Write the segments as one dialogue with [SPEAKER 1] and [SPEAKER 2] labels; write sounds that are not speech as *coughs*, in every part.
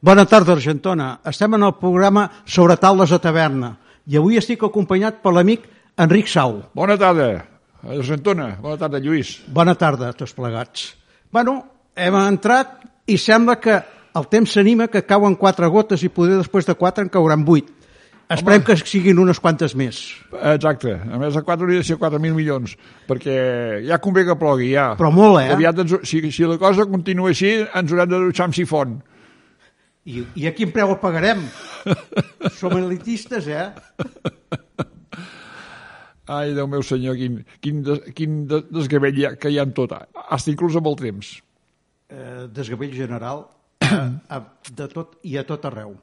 [SPEAKER 1] Bona tarda, Argentona. Estem en el programa Sobre taules de taverna i avui estic acompanyat per l'amic Enric Sau.
[SPEAKER 2] Bona tarda, Argentona. Bona tarda, Lluís.
[SPEAKER 1] Bona tarda a tots plegats. Bueno, hem entrat i sembla que el temps s'anima que cauen quatre gotes i poder després de quatre en cauran vuit. Esperem Home. que siguin unes quantes més.
[SPEAKER 2] Exacte. A més, a 4 hauria de ser 4.000 milions, perquè ja convé que plogui, ja.
[SPEAKER 1] Però molt, eh?
[SPEAKER 2] Aviat, ens, si, si la cosa continua així, ens haurem de dutxar amb sifon.
[SPEAKER 1] I, I a quin preu el pagarem? Som elitistes, eh?
[SPEAKER 2] Ai, Déu meu senyor, quin, quin, des, quin des, desgavell hi ha, que hi ha en tot, fins inclús amb el temps.
[SPEAKER 1] Eh, desgavell general eh, a, de tot i a tot arreu.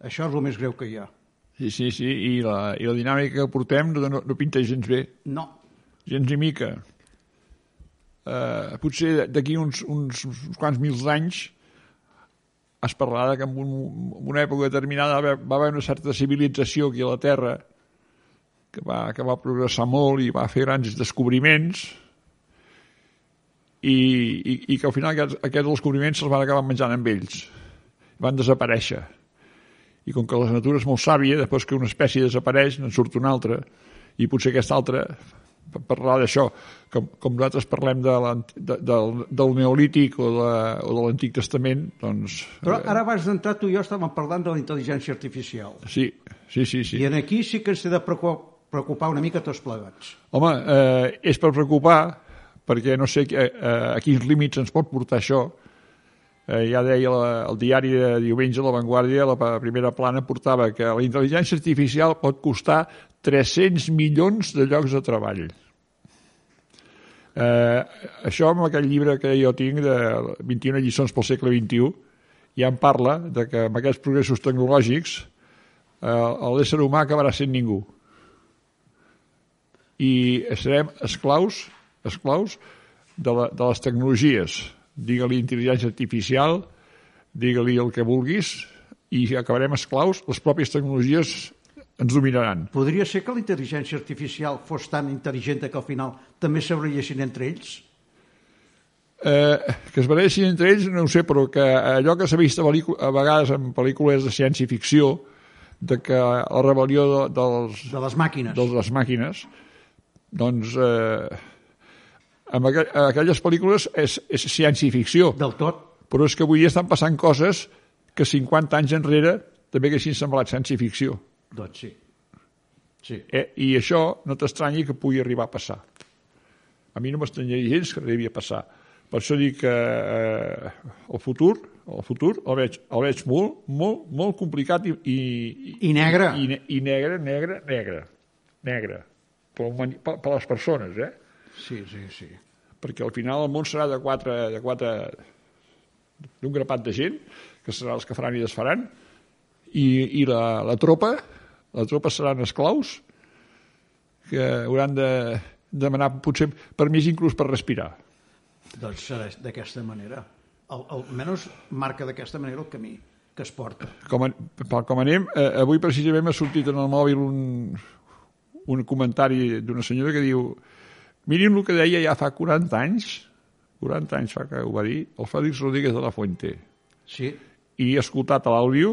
[SPEAKER 1] Això és el més greu que hi ha.
[SPEAKER 2] Sí, sí, sí, i la, i la dinàmica que portem no, no, no pinta gens bé.
[SPEAKER 1] No.
[SPEAKER 2] Gens ni mica. Eh, potser d'aquí uns, uns, uns quants mils d'anys es parlarà que en, un, en una època determinada va haver una certa civilització aquí a la Terra que va, que va progressar molt i va fer grans descobriments i, i, i que al final aquests, aquests descobriments se'ls van acabar menjant amb ells. Van desaparèixer i com que la natura és molt sàvia, després que una espècie desapareix, n'en surt una altra, i potser aquesta altra, per parlar d'això, com, com nosaltres parlem de de, del, del neolític o de, o de l'Antic Testament, doncs...
[SPEAKER 1] Però ara abans d'entrar tu i jo estàvem parlant de la intel·ligència artificial.
[SPEAKER 2] Sí, sí, sí. sí.
[SPEAKER 1] I en aquí sí que ens he de preocupar una mica tots plegats.
[SPEAKER 2] Home, eh, és per preocupar, perquè no sé a, a quins límits ens pot portar això, eh, ja deia la, el diari de diumenge, La Vanguardia, la primera plana portava que la intel·ligència artificial pot costar 300 milions de llocs de treball. Eh, això amb aquell llibre que jo tinc de 21 lliçons pel segle XXI ja en parla de que amb aquests progressos tecnològics eh, l'ésser humà acabarà sent ningú i serem esclaus esclaus de, la, de les tecnologies digue-li intel·ligència artificial, digue-li el que vulguis, i acabarem esclaus, les pròpies tecnologies ens dominaran.
[SPEAKER 1] Podria ser que la intel·ligència artificial fos tan intel·ligent que al final també s'abrellessin entre ells?
[SPEAKER 2] Eh, que es bareixin entre ells no ho sé, però que allò que s'ha vist a, a vegades en pel·lícules de ciència-ficció, de que la rebel·lió de, dels,
[SPEAKER 1] de les màquines,
[SPEAKER 2] de les màquines doncs eh, en aqu aquelles pel·lícules és, és ciència-ficció.
[SPEAKER 1] Del tot.
[SPEAKER 2] Però és que avui estan passant coses que 50 anys enrere també haguessin semblat ciència-ficció.
[SPEAKER 1] Doncs sí. sí.
[SPEAKER 2] Eh, I això no t'estranyi que pugui arribar a passar. A mi no m'estranyaria gens que arribi a passar. Per això dic que eh, el futur el futur el veig, el veig molt, molt, molt complicat i... I,
[SPEAKER 1] I negre.
[SPEAKER 2] I, i, i negre, negre, negre. Negre. Per, per, per les persones, eh?
[SPEAKER 1] Sí, sí, sí.
[SPEAKER 2] Perquè al final el món serà de quatre... De quatre d'un grapat de gent, que serà els que faran i desfaran, i, i la, la tropa, la tropa seran esclaus, que hauran de demanar potser permís inclús per respirar.
[SPEAKER 1] Doncs serà d'aquesta manera. Al, almenys marca d'aquesta manera el camí que es porta.
[SPEAKER 2] Com, a, com anem, eh, avui precisament m'ha sortit en el mòbil un, un comentari d'una senyora que diu Mirin el que deia ja fa 40 anys, 40 anys fa que ho va dir, el Fèlix Rodríguez de la Fuente.
[SPEAKER 1] Sí.
[SPEAKER 2] I he escoltat l'àudio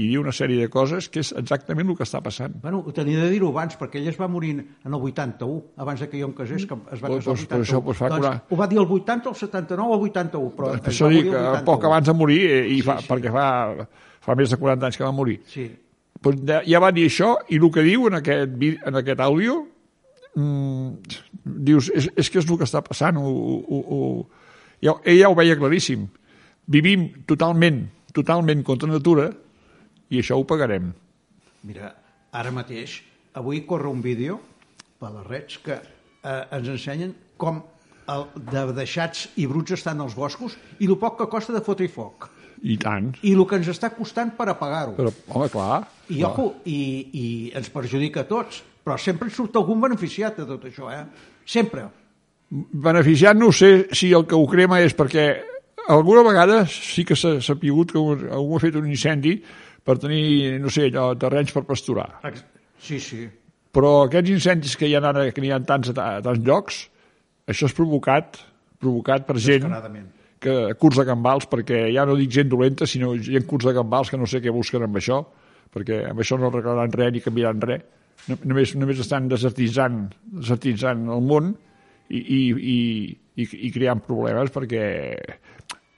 [SPEAKER 2] i diu una sèrie de coses que és exactament el que està passant.
[SPEAKER 1] Bueno, ho tenia de dir-ho abans, perquè ell es va morir en el 81, abans que jo em casés, que es va
[SPEAKER 2] pues,
[SPEAKER 1] casar
[SPEAKER 2] pues, el 81. Això, pues, fa
[SPEAKER 1] doncs,
[SPEAKER 2] 40...
[SPEAKER 1] ho va dir el 80, el 79 o el 81, però
[SPEAKER 2] per això dic, eh, poc abans de morir, eh, i sí, fa, sí. perquè fa, fa més de 40 anys que va morir.
[SPEAKER 1] Sí.
[SPEAKER 2] Pues ja va dir això, i el que diu en aquest, en aquest àudio mm, dius, és, és que és el que està passant. O, o, o, ja, ella ho veia claríssim. Vivim totalment, totalment contra natura i això ho pagarem.
[SPEAKER 1] Mira, ara mateix, avui corre un vídeo per les rets que eh, ens ensenyen com el, de deixats i bruts estan els boscos i el poc que costa de fotre i foc.
[SPEAKER 2] I tant.
[SPEAKER 1] I el que ens està costant per apagar-ho.
[SPEAKER 2] Però, home, clar.
[SPEAKER 1] I,
[SPEAKER 2] clar.
[SPEAKER 1] Ojo, i, i ens perjudica a tots, però sempre surt algun beneficiat de tot això, eh? Sempre.
[SPEAKER 2] Beneficiat no sé si el que ho crema és perquè alguna vegada sí que s'ha sapigut que algú ha fet un incendi per tenir, no sé, allò, terrenys per pasturar.
[SPEAKER 1] Sí, sí.
[SPEAKER 2] Però aquests incendis que hi ha ara, que hi ha tants, a tants llocs, això és provocat, provocat per gent que, curts de gambals, perquè ja no dic gent dolenta, sinó gent curts de gambals que no sé què busquen amb això, perquè amb això no arreglaran res ni canviaran res. No- Només, només estan desertitzant, desertitzant el món i, i, i, i, i creant problemes, perquè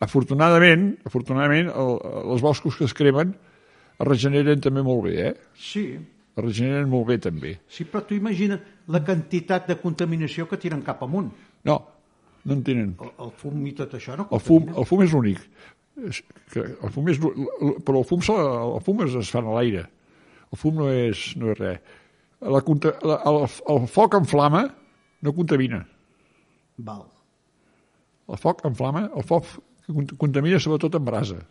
[SPEAKER 2] afortunadament, afortunadament el, els boscos que es cremen es regeneren també molt bé, eh?
[SPEAKER 1] Sí,
[SPEAKER 2] Es regeneren molt bé, també.
[SPEAKER 1] sí, però tu imagina la quantitat de contaminació que tiren cap amunt.
[SPEAKER 2] No, no en tenen.
[SPEAKER 1] El, el fum i tot això no
[SPEAKER 2] El fum, el fum és l'únic. És que El fum és, l'ú- l- però el fum, se- el fum es, es fa a l'aire. El fum no és, no és res. La, conta- la, el, el foc en flama no contamina.
[SPEAKER 1] Val.
[SPEAKER 2] El foc en flama, el foc que cont- contamina sobretot en brasa,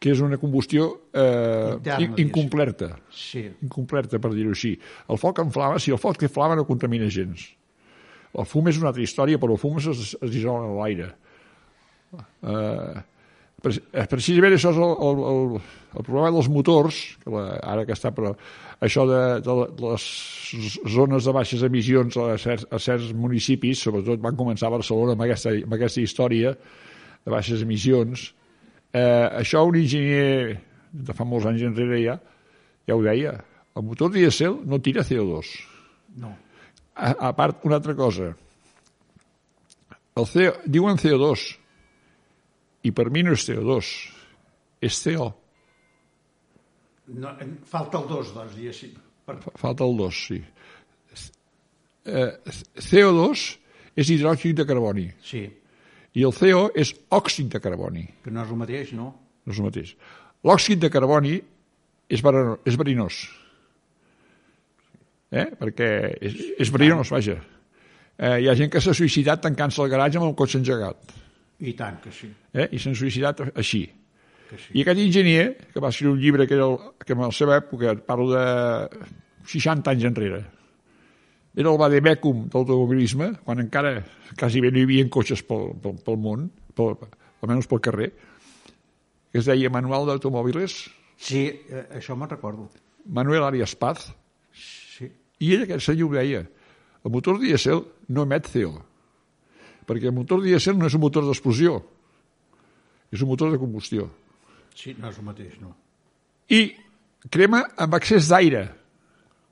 [SPEAKER 2] que és una combustió eh,
[SPEAKER 1] Interna,
[SPEAKER 2] in-
[SPEAKER 1] diguéssim.
[SPEAKER 2] incomplerta.
[SPEAKER 1] Sí,
[SPEAKER 2] incomplerta, per dir-ho així. El foc en flama, si el foc que flama no contamina gens. El fum és una altra història, però el fum es, es dissol en l'aire. Uh, precisament això és el, el, el, el problema dels motors, que la, ara que està però, això de, de la- les zones de baixes emissions a certs, a certs municipis, sobretot van començar a Barcelona amb aquesta, amb aquesta història de baixes emissions. Eh, això un enginyer de fa molts anys enrere ja, ja ho deia, el motor dièsel no tira CO2.
[SPEAKER 1] no.
[SPEAKER 2] A, a part, una altra cosa. El CO, diuen CO2, i per mi no és CO2, és CO,
[SPEAKER 1] no. en- Falta el dos, doncs, diguéssim. Per...
[SPEAKER 2] fa- falta el 2, sí. Eh, CO2 és hidròxid de carboni,
[SPEAKER 1] Sí,
[SPEAKER 2] i el CO és òxid de carboni,
[SPEAKER 1] que no és el mateix, no?
[SPEAKER 2] no és el mateix. L'òxid de carboni és, verano, és verinós, eh? perquè és, és verinós, vaja. Eh, hi ha gent que s'ha suïcidat tancant-se al garatge amb el cotxe engegat.
[SPEAKER 1] I tant que sí,
[SPEAKER 2] eh? i s'han suïcidat així.
[SPEAKER 1] que sí.
[SPEAKER 2] I aquest enginyer, que va escriure un llibre que, era el, que en la seva època, parlo de 60 anys enrere, era el vademecum de l'automobilisme, quan encara quasi bé no hi havia cotxes pel, pel, pel món, pel, almenys pel carrer, que es deia Manual d'Automòbiles,
[SPEAKER 1] Sí, eh, això me'n recordo.
[SPEAKER 2] Manuel Arias Paz,
[SPEAKER 1] Sí,
[SPEAKER 2] i ell aquest senyor ho deia, el motor dièsel no emet CO, perquè el motor dièsel no és un motor d'explosió, és un motor de combustió.
[SPEAKER 1] sí, no és el mateix, no.
[SPEAKER 2] i crema amb excés d'aire,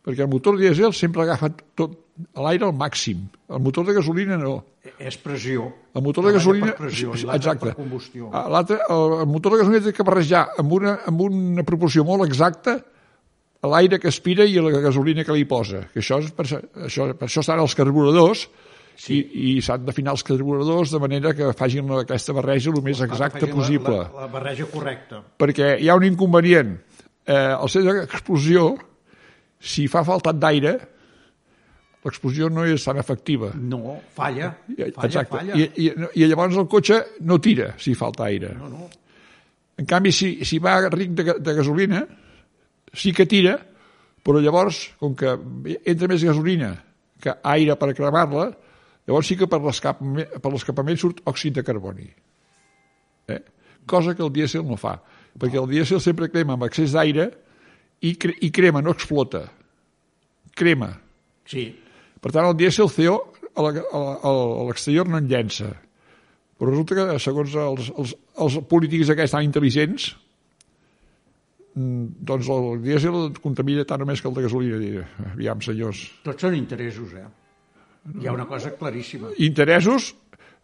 [SPEAKER 2] perquè el motor dièsel sempre agafa tot l'aire al màxim. El motor de gasolina no.
[SPEAKER 1] Eh, És pressió.
[SPEAKER 2] El motor de
[SPEAKER 1] L'altre
[SPEAKER 2] gasolina...
[SPEAKER 1] Per pressió,
[SPEAKER 2] sí,
[SPEAKER 1] i
[SPEAKER 2] sí,
[SPEAKER 1] l'altre
[SPEAKER 2] exacte.
[SPEAKER 1] per combustió.
[SPEAKER 2] Ah, l'altre- el, el motor de gasolina té que barrejar amb una, amb una proporció molt exacta l'aire que aspira i la gasolina que li posa. Que això, és per, això, per això estan els carburadors sí. i, i s'han d'afinar els carburadors de manera que facin la- aquesta barreja el més
[SPEAKER 1] Facin
[SPEAKER 2] exacta
[SPEAKER 1] la-
[SPEAKER 2] possible
[SPEAKER 1] La, la, barreja correcta.
[SPEAKER 2] perquè hi ha un inconvenient. Eh, al ser d'explosió, si fa faltat d'aire, l'explosió no és tan efectiva.
[SPEAKER 1] No, falla, falla, falla.
[SPEAKER 2] I, i, I llavors el cotxe no tira si falta aire.
[SPEAKER 1] No, no,
[SPEAKER 2] En canvi, si, si va ric de, ga- de gasolina, sí que tira, però llavors, com que entra més gasolina que aire per cremar-la, llavors sí que per l'escapament per l'escapament surt òxid de carboni. Eh? Cosa que el dièsel no fa, perquè el dièsel sempre crema amb excés d'aire i, cre i crema, no explota. Crema.
[SPEAKER 1] sí,
[SPEAKER 2] Per tant, el dièsel CO a la- a la- a l'exterior no en llença. Però resulta que, segons els, els, els polítics aquests tan intel·ligents, mm, doncs el dièsel contamina tant o més que el de gasolina. Diré. Aviam, senyors.
[SPEAKER 1] tots són interessos, eh? Hi ha una cosa claríssima.
[SPEAKER 2] Interessos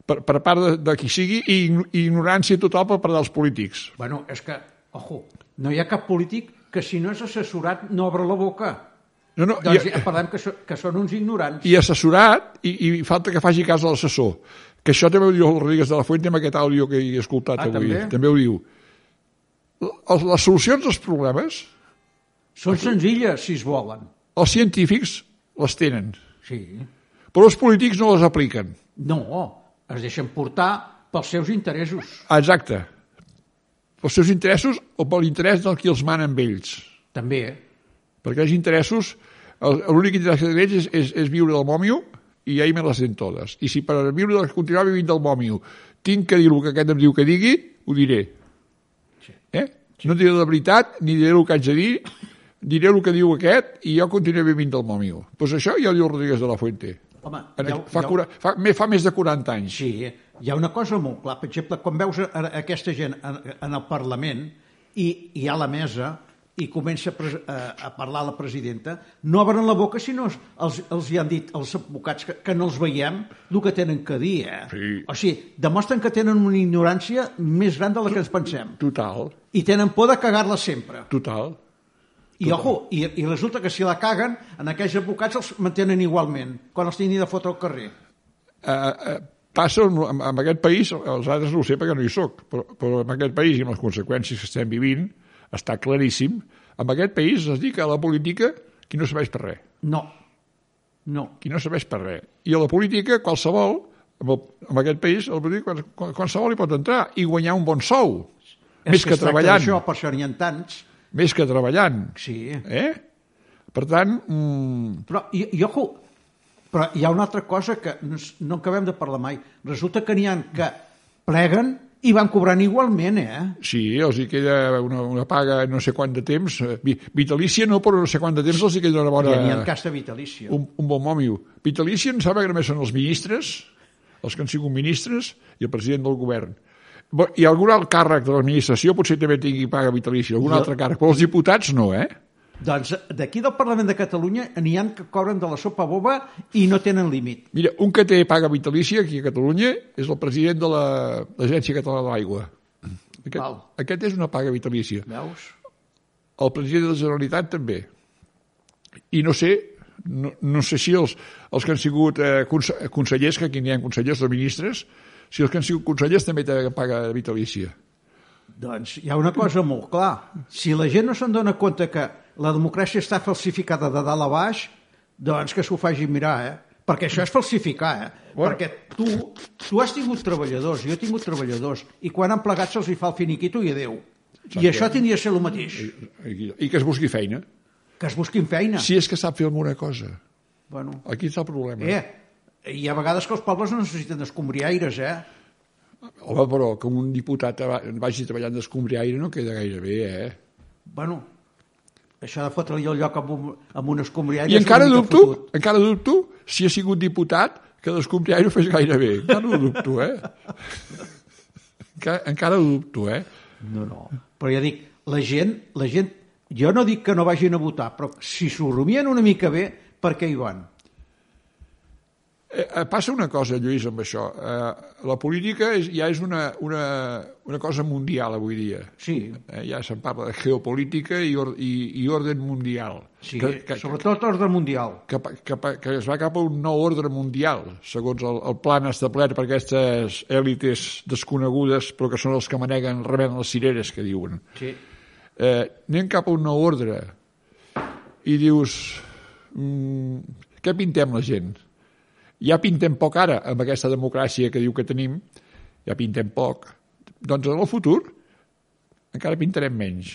[SPEAKER 2] per, per part de, de qui sigui i ign- i ignorància total per part dels polítics.
[SPEAKER 1] Bueno, és que, ojo, no hi ha cap polític que si no és assessorat no obre la boca.
[SPEAKER 2] No, no,
[SPEAKER 1] Doncs
[SPEAKER 2] i-
[SPEAKER 1] ja parlem que, so, que són uns ignorants.
[SPEAKER 2] i assessorat i, i falta que faci cas a l'assessor. Que això també ho diu el Rodríguez de la Fuente amb aquest àudio que he escoltat
[SPEAKER 1] Ah,
[SPEAKER 2] avui.
[SPEAKER 1] també?
[SPEAKER 2] també ho diu. Les, les solucions als problemes,
[SPEAKER 1] Són senzilles, si es volen.
[SPEAKER 2] els científics les tenen,
[SPEAKER 1] Sí.
[SPEAKER 2] però els polítics no les apliquen.
[SPEAKER 1] No, es deixen portar pels seus interessos,
[SPEAKER 2] Ah, Exacte. Pels seus interessos o per l'interès del qui els mana amb ells.
[SPEAKER 1] també. eh?
[SPEAKER 2] Perquè els interessos, el- l'únic interès que tenen és, és, és viure del mòmio i ja hi me les sent totes. I si per viure, continuar vivint del mòmio tinc que dir el que aquest em diu que digui, ho diré. Eh? No diré la veritat, ni diré el que haig de dir, diré el que diu aquest i jo continuaré vivint del mòmio. Doncs pues això ja ho diu Rodríguez de la Fuente.
[SPEAKER 1] Home,
[SPEAKER 2] En,
[SPEAKER 1] hi ha,
[SPEAKER 2] fa,
[SPEAKER 1] hi ha,
[SPEAKER 2] cura, fa, me- fa més de 40 anys.
[SPEAKER 1] sí, hi ha una cosa molt clara. Per exemple, quan veus a, a aquesta gent en, en el Parlament i hi ha la mesa i comença a, pres- a, a parlar la presidenta, no obren la boca si no es- els, els hi han dit els advocats que, que no els veiem el que tenen que dir. Eh?
[SPEAKER 2] Sí.
[SPEAKER 1] O sigui, demostren que tenen una ignorància més gran de la que ens pensem.
[SPEAKER 2] Total,
[SPEAKER 1] I tenen por de cagar-la sempre.
[SPEAKER 2] total.
[SPEAKER 1] I, ojo, i, i resulta que si la caguen, en aquells advocats els mantenen igualment, quan els tinguin de fotre al carrer.
[SPEAKER 2] eh, eh, passa en, en, en aquest país, els altres no ho sé perquè no hi sóc, però, però en aquest país i amb les conseqüències que estem vivint, està claríssim, en aquest país es dedica a la política qui no serveix per res,
[SPEAKER 1] No. No.
[SPEAKER 2] qui no serveix per res. I a la política qualsevol, en, el, en aquest país, a la política, qual- qualsevol hi pot entrar i guanyar un bon sou,
[SPEAKER 1] És
[SPEAKER 2] més que,
[SPEAKER 1] es tracta
[SPEAKER 2] treballant,
[SPEAKER 1] d'això, per això n'hi ha tants.
[SPEAKER 2] més que treballant.
[SPEAKER 1] Sí.
[SPEAKER 2] Eh? Per tant, mm,
[SPEAKER 1] Però, i, i ojo, però hi ha una altra cosa que no, s- no acabem de parlar mai. Resulta que n'hi ha que pleguen i van cobrant igualment, eh?
[SPEAKER 2] Sí, els hi queda una, una paga no sé quant de temps, eh, vi- vitalícia no, però no sé quant de temps els hi queda una
[SPEAKER 1] I
[SPEAKER 2] bona,
[SPEAKER 1] n'hi ha cas de vitalícia.
[SPEAKER 2] Eh, un, un bon mòmio. Vitalícia em sembla que només són els ministres, els que han sigut ministres i el president del govern. Bo- I algun alt càrrec de l'administració potser també tingui paga vitalícia, algun
[SPEAKER 1] Jo-
[SPEAKER 2] altre càrrec, però els diputats no, eh?
[SPEAKER 1] Doncs d'aquí del Parlament de Catalunya n'hi ha que cobren de la sopa boba i no tenen límit.
[SPEAKER 2] Mira, un que té paga vitalícia aquí a Catalunya és el president de la- l'Agència Catalana de l'Aigua. Aquest,
[SPEAKER 1] Val.
[SPEAKER 2] aquest és una paga vitalícia.
[SPEAKER 1] Veus?
[SPEAKER 2] el president de la Generalitat també. I no sé, no, no sé si els, els que han sigut eh, conse consellers, que aquí n'hi ha consellers o ministres, si els que han sigut consellers també tenen paga vitalícia.
[SPEAKER 1] Doncs hi ha una cosa molt clara. Si la gent no se'n dona compte que la democràcia està falsificada de dalt a baix, doncs que s'ho faci mirar, eh? Perquè això és falsificar, eh?
[SPEAKER 2] Bueno.
[SPEAKER 1] Perquè tu, tu has tingut treballadors, jo he tingut treballadors, i quan han plegat se'ls hi fa el finiquito i adeu. I això tindria de ser el mateix,
[SPEAKER 2] I, I que es busqui feina.
[SPEAKER 1] que es busquin feina.
[SPEAKER 2] Si és que sap fer alguna cosa.
[SPEAKER 1] Bueno,
[SPEAKER 2] Aquí està el problema.
[SPEAKER 1] eh, hi ha vegades que els pobles no necessiten escombriaires, eh?
[SPEAKER 2] Home, però que un diputat va- vagi treballant d'escombriaire no queda gaire bé, eh?
[SPEAKER 1] Bueno, això de fotre-li el lloc amb un, amb un escombriaire...
[SPEAKER 2] I
[SPEAKER 1] és una
[SPEAKER 2] encara
[SPEAKER 1] mica
[SPEAKER 2] dubto,
[SPEAKER 1] fotut.
[SPEAKER 2] encara dubto si ha sigut diputat que d'escombriaire ho fes gaire bé. Encara ho dubto, eh? Encara, encara ho dubto, eh?
[SPEAKER 1] No, no. Però ja dic, la gent, la gent... Jo no dic que no vagin a votar, però si s'ho rumien una mica bé, per què hi van?
[SPEAKER 2] Eh, eh, passa una cosa, Lluís, amb això. Eh, la política és, ja és una, una, una cosa mundial avui dia.
[SPEAKER 1] Sí,
[SPEAKER 2] Eh, ja se'n parla de geopolítica i, or, i, i ordre mundial.
[SPEAKER 1] sí
[SPEAKER 2] que, que,
[SPEAKER 1] sobretot ordre mundial.
[SPEAKER 2] que, pa- que, pa- que es va cap a un nou ordre mundial, segons el, el plan establert per aquestes èlites desconegudes, però que són els que maneguen, reben les cireres, que diuen.
[SPEAKER 1] Sí.
[SPEAKER 2] Eh, anem cap a un nou ordre. I dius... Mm, què pintem la gent? ja pintem poc ara amb aquesta democràcia que diu que tenim, ja pintem poc, doncs en el futur encara pintarem menys.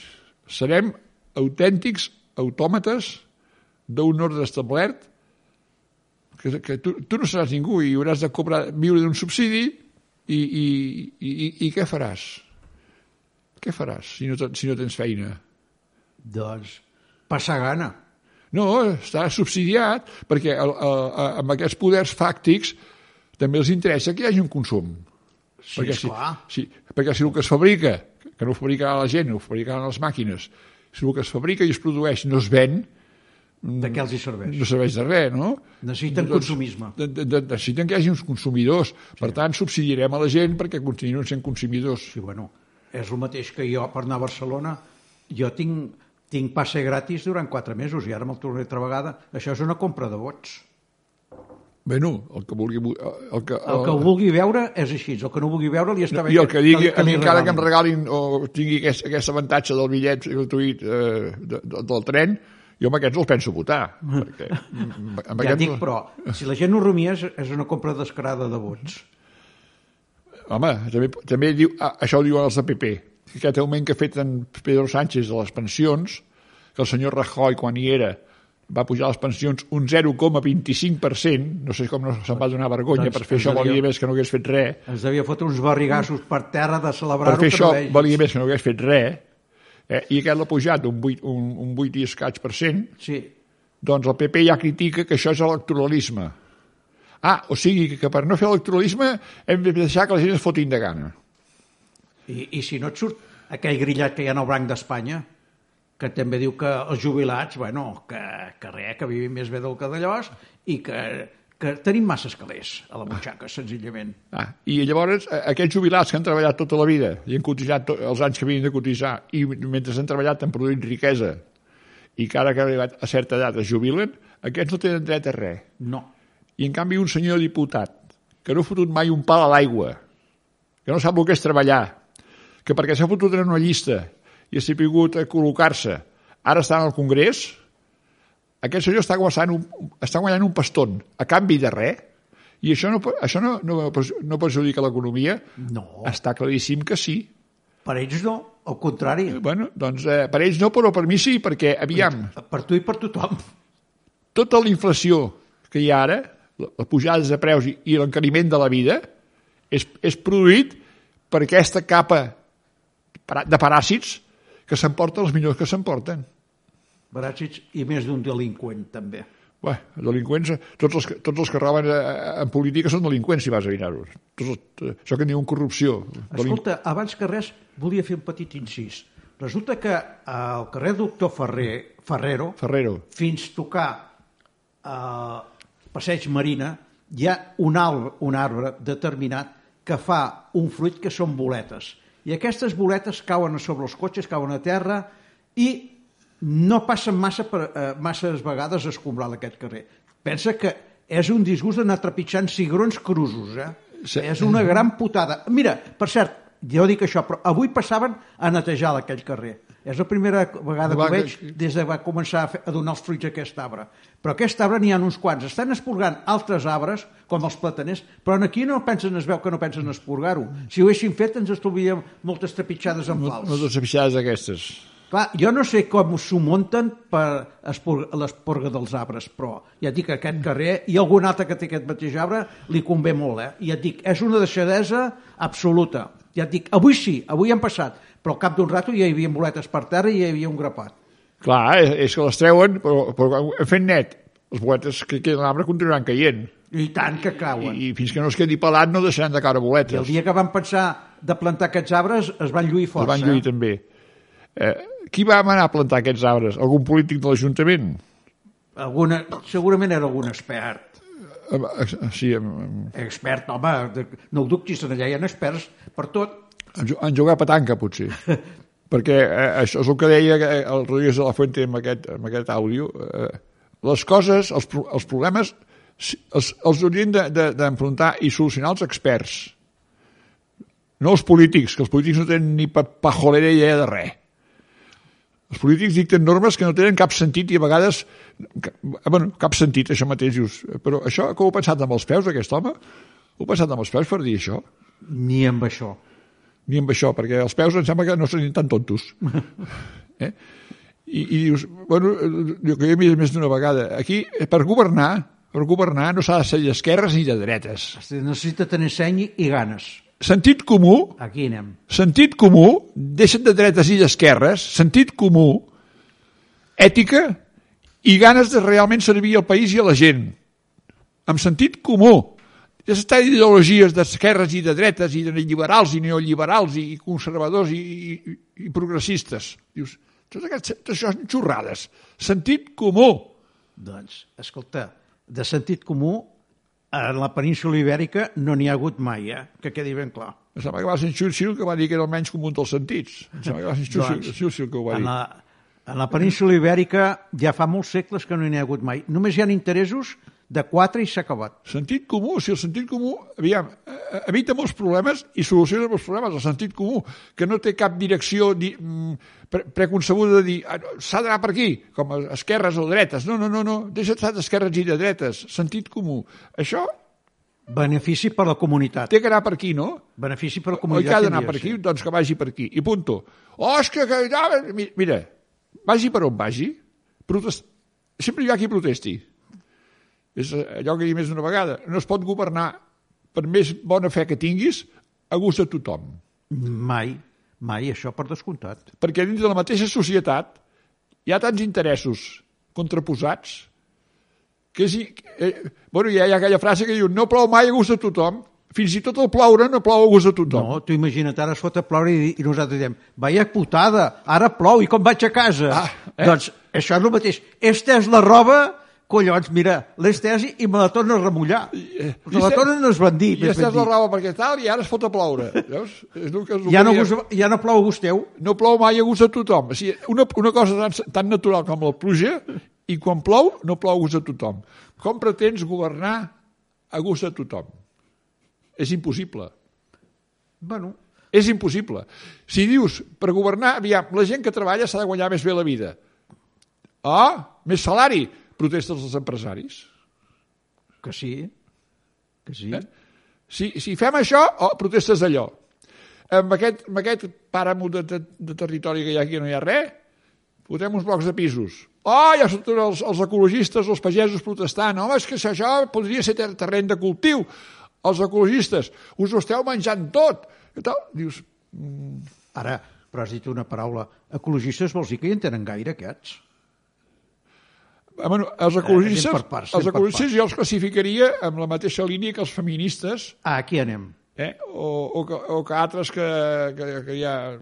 [SPEAKER 2] Serem autèntics autòmates d'un ordre establert que, que tu, tu no seràs ningú i hauràs de cobrar, viure d'un subsidi i, i, i, i, i què faràs? Què faràs si no, te- si no tens feina?
[SPEAKER 1] Doncs passar gana.
[SPEAKER 2] No, està subsidiat perquè el, el, el, amb aquests poders fàctics també els interessa que hi hagi un consum.
[SPEAKER 1] Sí,
[SPEAKER 2] perquè, si,
[SPEAKER 1] esclar.
[SPEAKER 2] si, perquè si el que es fabrica, que no ho fabricarà la gent, ho fabricaran les màquines, si el que es fabrica i es produeix no es ven, Mm.
[SPEAKER 1] De què els hi serveix?
[SPEAKER 2] no serveix de res, no? Doncs
[SPEAKER 1] Necessiten consumisme.
[SPEAKER 2] De, de, de, necessiten que hi hagi uns consumidors. Per tant, subsidiarem a la gent perquè continuïn sent consumidors.
[SPEAKER 1] Sí, bueno, és el mateix que jo per anar a Barcelona. Jo tinc, tinc passe gratis durant quatre mesos i ara me'l tornaré altra vegada. Això és una compra de vots.
[SPEAKER 2] Bueno, el que vulgui... El que,
[SPEAKER 1] El que ho vulgui veure és així. El que no ho vulgui veure li està bé.
[SPEAKER 2] Oh. I el que digui,
[SPEAKER 1] li
[SPEAKER 2] encara que em
[SPEAKER 1] regalin.
[SPEAKER 2] regalin o tingui aquest, aquest avantatge del bitllet gratuït eh, de, de, del tren, jo amb aquests els penso
[SPEAKER 1] *laughs*
[SPEAKER 2] votar. Perquè, amb, amb
[SPEAKER 1] Ja
[SPEAKER 2] aquests-
[SPEAKER 1] dic, però, si la gent no rumia, és, és una compra descarada de vots.
[SPEAKER 2] Home, també, també diu, ah, això ho diuen els de PP. Aquest augment que ha fet en Pedro Sánchez de les pensions, que el senyor Rajoy, quan hi era, va pujar les pensions un 0,25%, no sé com no se'n va donar vergonya
[SPEAKER 1] Doncs
[SPEAKER 2] per fer això,
[SPEAKER 1] ens devia-
[SPEAKER 2] valia més que no hagués fet res.
[SPEAKER 1] Ens devia fotre uns barrigassos per terra de
[SPEAKER 2] per
[SPEAKER 1] celebrar-ho.
[SPEAKER 2] fer
[SPEAKER 1] que
[SPEAKER 2] això
[SPEAKER 1] no vegis.
[SPEAKER 2] valia més que no hagués fet res, eh? i aquest l'ha pujat un 8, un, un 8 i escaig per cent,
[SPEAKER 1] Sí,
[SPEAKER 2] doncs el PP ja critica que això és electoralisme. Ah, o sigui que per no fer electoralisme hem de deixar que la gent es fotin de gana.
[SPEAKER 1] I, I si no et surt aquell grillat que hi ha en el Banc d'Espanya, que també diu que els jubilats, bueno, que, que res, que vivim més bé del que d'allòs i que, que tenim masses calés a la butxaca, senzillament.
[SPEAKER 2] Ah, I llavors, a- aquells jubilats que han treballat tota la vida i han cotitzat to els anys que havien de cotitzar i mentre han treballat han produït riquesa i que ara que han arribat a certa edat es jubilen, aquests no tenen dret a res.
[SPEAKER 1] No.
[SPEAKER 2] I en canvi un senyor diputat que no ha fotut mai un pal a l'aigua, que no sap el que és treballar, que perquè s'ha fotut en una llista i s'ha vingut a col·locar-se, ara està en el Congrés, aquest senyor està guanyant un, està guanyant un paston a canvi de res, i això no, pe- això no, no, pers- no perjudica l'economia?
[SPEAKER 1] No.
[SPEAKER 2] Està claríssim que sí.
[SPEAKER 1] Per ells no, al contrari.
[SPEAKER 2] Bueno, doncs eh, per ells no, però per mi sí, perquè aviam,
[SPEAKER 1] Per tu i per tothom.
[SPEAKER 2] tota la inflació que hi ha ara, la- les pujades de preus i, i l'encariment de la vida, és, és produït per aquesta capa para- de paràsits que s'emporten els millors que s'emporten.
[SPEAKER 1] Baràsits i més d'un delinqüent, també.
[SPEAKER 2] Bé, els delinqüents, tots els, que- tots els que roben eh, en política són delinqüents, si vas a mirar-los. Tots els- eh, Això que en diuen corrupció. Delinqüents.
[SPEAKER 1] Escolta, abans que res, volia fer un petit incís. Resulta que al carrer Doctor Ferrer, Ferrero,
[SPEAKER 2] Ferrero.
[SPEAKER 1] fins tocar eh, Passeig Marina, hi ha un arbre, un arbre determinat que fa un fruit que són boletes. I aquestes boletes cauen a sobre els cotxes, cauen a terra i no passen massa per, eh, masses vegades a escombrar d'aquest carrer. Pensa que és un disgust d'anar trepitjant cigrons crusos, eh?
[SPEAKER 2] Sí.
[SPEAKER 1] És una gran putada. Mira, per cert, jo dic això, però avui passaven a netejar aquell carrer. És la primera vegada que
[SPEAKER 2] Va,
[SPEAKER 1] ho veig
[SPEAKER 2] que-
[SPEAKER 1] des de va començar a, fer, a donar els fruits a aquest arbre. Però aquest arbre n'hi ha uns quants. Estan esporgant altres arbres, com els plataners, però en aquí no pensen, es veu que no pensen esporgar-ho. Si ho haguessin fet, ens estuvien moltes trepitjades en
[SPEAKER 2] No
[SPEAKER 1] fals.
[SPEAKER 2] totes les aquestes.
[SPEAKER 1] Clar, jo no sé com s'ho munten per espor- l'esporga dels arbres, però ja et dic, aquest carrer i algun altre que té aquest mateix arbre li convé molt, eh? Ja et dic, és una deixadesa absoluta. Ja et dic, avui sí, avui hem passat, però al cap d'un rato ja hi havia boletes per terra i hi havia un grapat.
[SPEAKER 2] Clar, és, és que les treuen, però, però fent net, les boletes que queden a l'arbre continuaran caient.
[SPEAKER 1] I tant que cauen.
[SPEAKER 2] I, I fins que no es quedi pelat no deixaran de caure boletes.
[SPEAKER 1] I el dia que van pensar de plantar aquests arbres es van lluir
[SPEAKER 2] El
[SPEAKER 1] força.
[SPEAKER 2] van lluir també. Eh, qui va manar a plantar aquests arbres? Algun polític de l'Ajuntament?
[SPEAKER 1] Alguna, segurament era algun expert.
[SPEAKER 2] Eh, eh, Sí, en,
[SPEAKER 1] Expert, home, de- no ho dubtis, allà hi ha experts per tot.
[SPEAKER 2] en, en jugar a petanca, potser. Perquè eh, això és el que deia eh, el Rodríguez de la Fuente amb aquest, amb aquest àudio. Eh, les coses, els, pro- els problemes, si- els, els haurien de- de- d'enfrontar de, i solucionar els experts. No els polítics, que els polítics no tenen ni pa, pajolera idea de res. Els polítics dicten normes que no tenen cap sentit i a vegades... ca- Bueno, cap sentit, això mateix dius. eh, Però això, que ho ha pensat amb els peus, aquest home? Ho ha pensat amb els peus per dir això?
[SPEAKER 1] Ni amb això.
[SPEAKER 2] ni amb això, perquè els peus em sembla que no serien tan tontos. Eh? I, I dius, bueno, el que jo he vist més d'una vegada, aquí, eh, per governar, per governar no s'ha de ser d'esquerres ni de dretes.
[SPEAKER 1] Es necessita tenir seny i ganes.
[SPEAKER 2] Sentit comú,
[SPEAKER 1] Aquí anem.
[SPEAKER 2] sentit comú, deixa't de dretes i d'esquerres, sentit comú, ètica i ganes de realment servir al país i a la gent. Amb sentit comú. Ja s'està ideologies d'esquerres i de dretes i de liberals i neoliberals i conservadors i, i, i progressistes. Dius, tot, aquest, tot això són xorrades. Sentit comú.
[SPEAKER 1] Doncs, escolta, de sentit comú, a la península ibèrica no n'hi ha hagut mai, eh? que quedi ben clar.
[SPEAKER 2] Em sembla que va ser en Churchill que va dir que era el menys comú dels sentits. Em sembla que va
[SPEAKER 1] *laughs*
[SPEAKER 2] ser en Churchill, Churchill que ho va
[SPEAKER 1] Doncs, en
[SPEAKER 2] dir.
[SPEAKER 1] la, en la península ibèrica ja fa molts segles que no n'hi ha hagut mai. Només hi ha interessos de quatre i s'ha acabat.
[SPEAKER 2] Sentit comú, si el sentit comú, aviam, eh, evita molts problemes i soluciona molts problemes, el sentit comú, que no té cap direcció di, mm, pre preconcebuda de dir "Ah, no, s'ha d'anar per aquí, com a esquerres o dretes. No, no, no, no, deixa't estar d'esquerres i de dretes, sentit comú. Això
[SPEAKER 1] Benefici per a la comunitat.
[SPEAKER 2] té que anar per aquí, no?
[SPEAKER 1] Benefici per a la
[SPEAKER 2] Oi
[SPEAKER 1] comunitat.
[SPEAKER 2] que ha d'anar per
[SPEAKER 1] tindria,
[SPEAKER 2] aquí?
[SPEAKER 1] sí.
[SPEAKER 2] Doncs que vagi per aquí. I punto. Oh, és que... que ja- mi- Mira, vagi per on vagi, protest... sempre hi ha qui protesti. És eh, allò que he dit més d'una vegada. No es pot governar, per més bona fe que tinguis, a gust de tothom.
[SPEAKER 1] Mai, mai, això per descomptat.
[SPEAKER 2] Perquè dins de la mateixa societat hi ha tants interessos contraposats Que si, eh, bueno, hi ha, hi ha aquella frase que diu no plou mai a gust de tothom, fins i tot el ploure no plou a gust de tothom.
[SPEAKER 1] No, tu imagina't, ara es fot a ploure i, i nosaltres diem, vaya putada, ara plou i com vaig a casa?
[SPEAKER 2] Ah, eh?
[SPEAKER 1] Doncs això és el mateix. Esta és la roba, collons, mira, l'he estès i me la torna a remullar. I, me la
[SPEAKER 2] este-
[SPEAKER 1] tornen a esbandir.
[SPEAKER 2] Eh, I
[SPEAKER 1] més ben
[SPEAKER 2] estàs la
[SPEAKER 1] dit.
[SPEAKER 2] raó perquè tal, i ara es fot a ploure. Veus? És el que és el
[SPEAKER 1] Ja
[SPEAKER 2] que
[SPEAKER 1] no,
[SPEAKER 2] diem.
[SPEAKER 1] gust, ja no plou a gust teu.
[SPEAKER 2] no plou mai a gust de tothom. O sigui, una, una cosa tan, tan natural com la pluja, i quan plou, no plou a gust de tothom. Com pretens governar a gust de tothom? És impossible.
[SPEAKER 1] Bueno,
[SPEAKER 2] És impossible. Si dius, per governar, aviam, la gent que treballa s'ha de guanyar més bé la vida. Ah, més salari, protesten els empresaris.
[SPEAKER 1] que sí, que sí.
[SPEAKER 2] Eh? Si, si fem això, oh, protestes allò. Amb aquest, amb aquest pàramo de, de, de territori que hi ha aquí no hi ha res, fotem uns blocs de pisos. Oh, ja surten els, els ecologistes, els pagesos protestant. Home, és que això podria ser ter terreny de cultiu. Els ecologistes, us ho esteu menjant tot. I tal. Dius,
[SPEAKER 1] Ara, però has dit una paraula. Ecologistes vols dir que hi en tenen gaire, aquests?
[SPEAKER 2] Ah, Bueno, els
[SPEAKER 1] Eh, anem
[SPEAKER 2] ecologistes,
[SPEAKER 1] per parts, anem
[SPEAKER 2] els
[SPEAKER 1] per
[SPEAKER 2] ecologistes jo els classificaria amb la mateixa línia que els feministes
[SPEAKER 1] Ah, aquí anem.
[SPEAKER 2] eh? o, o, que, o que altres que, que, que ja,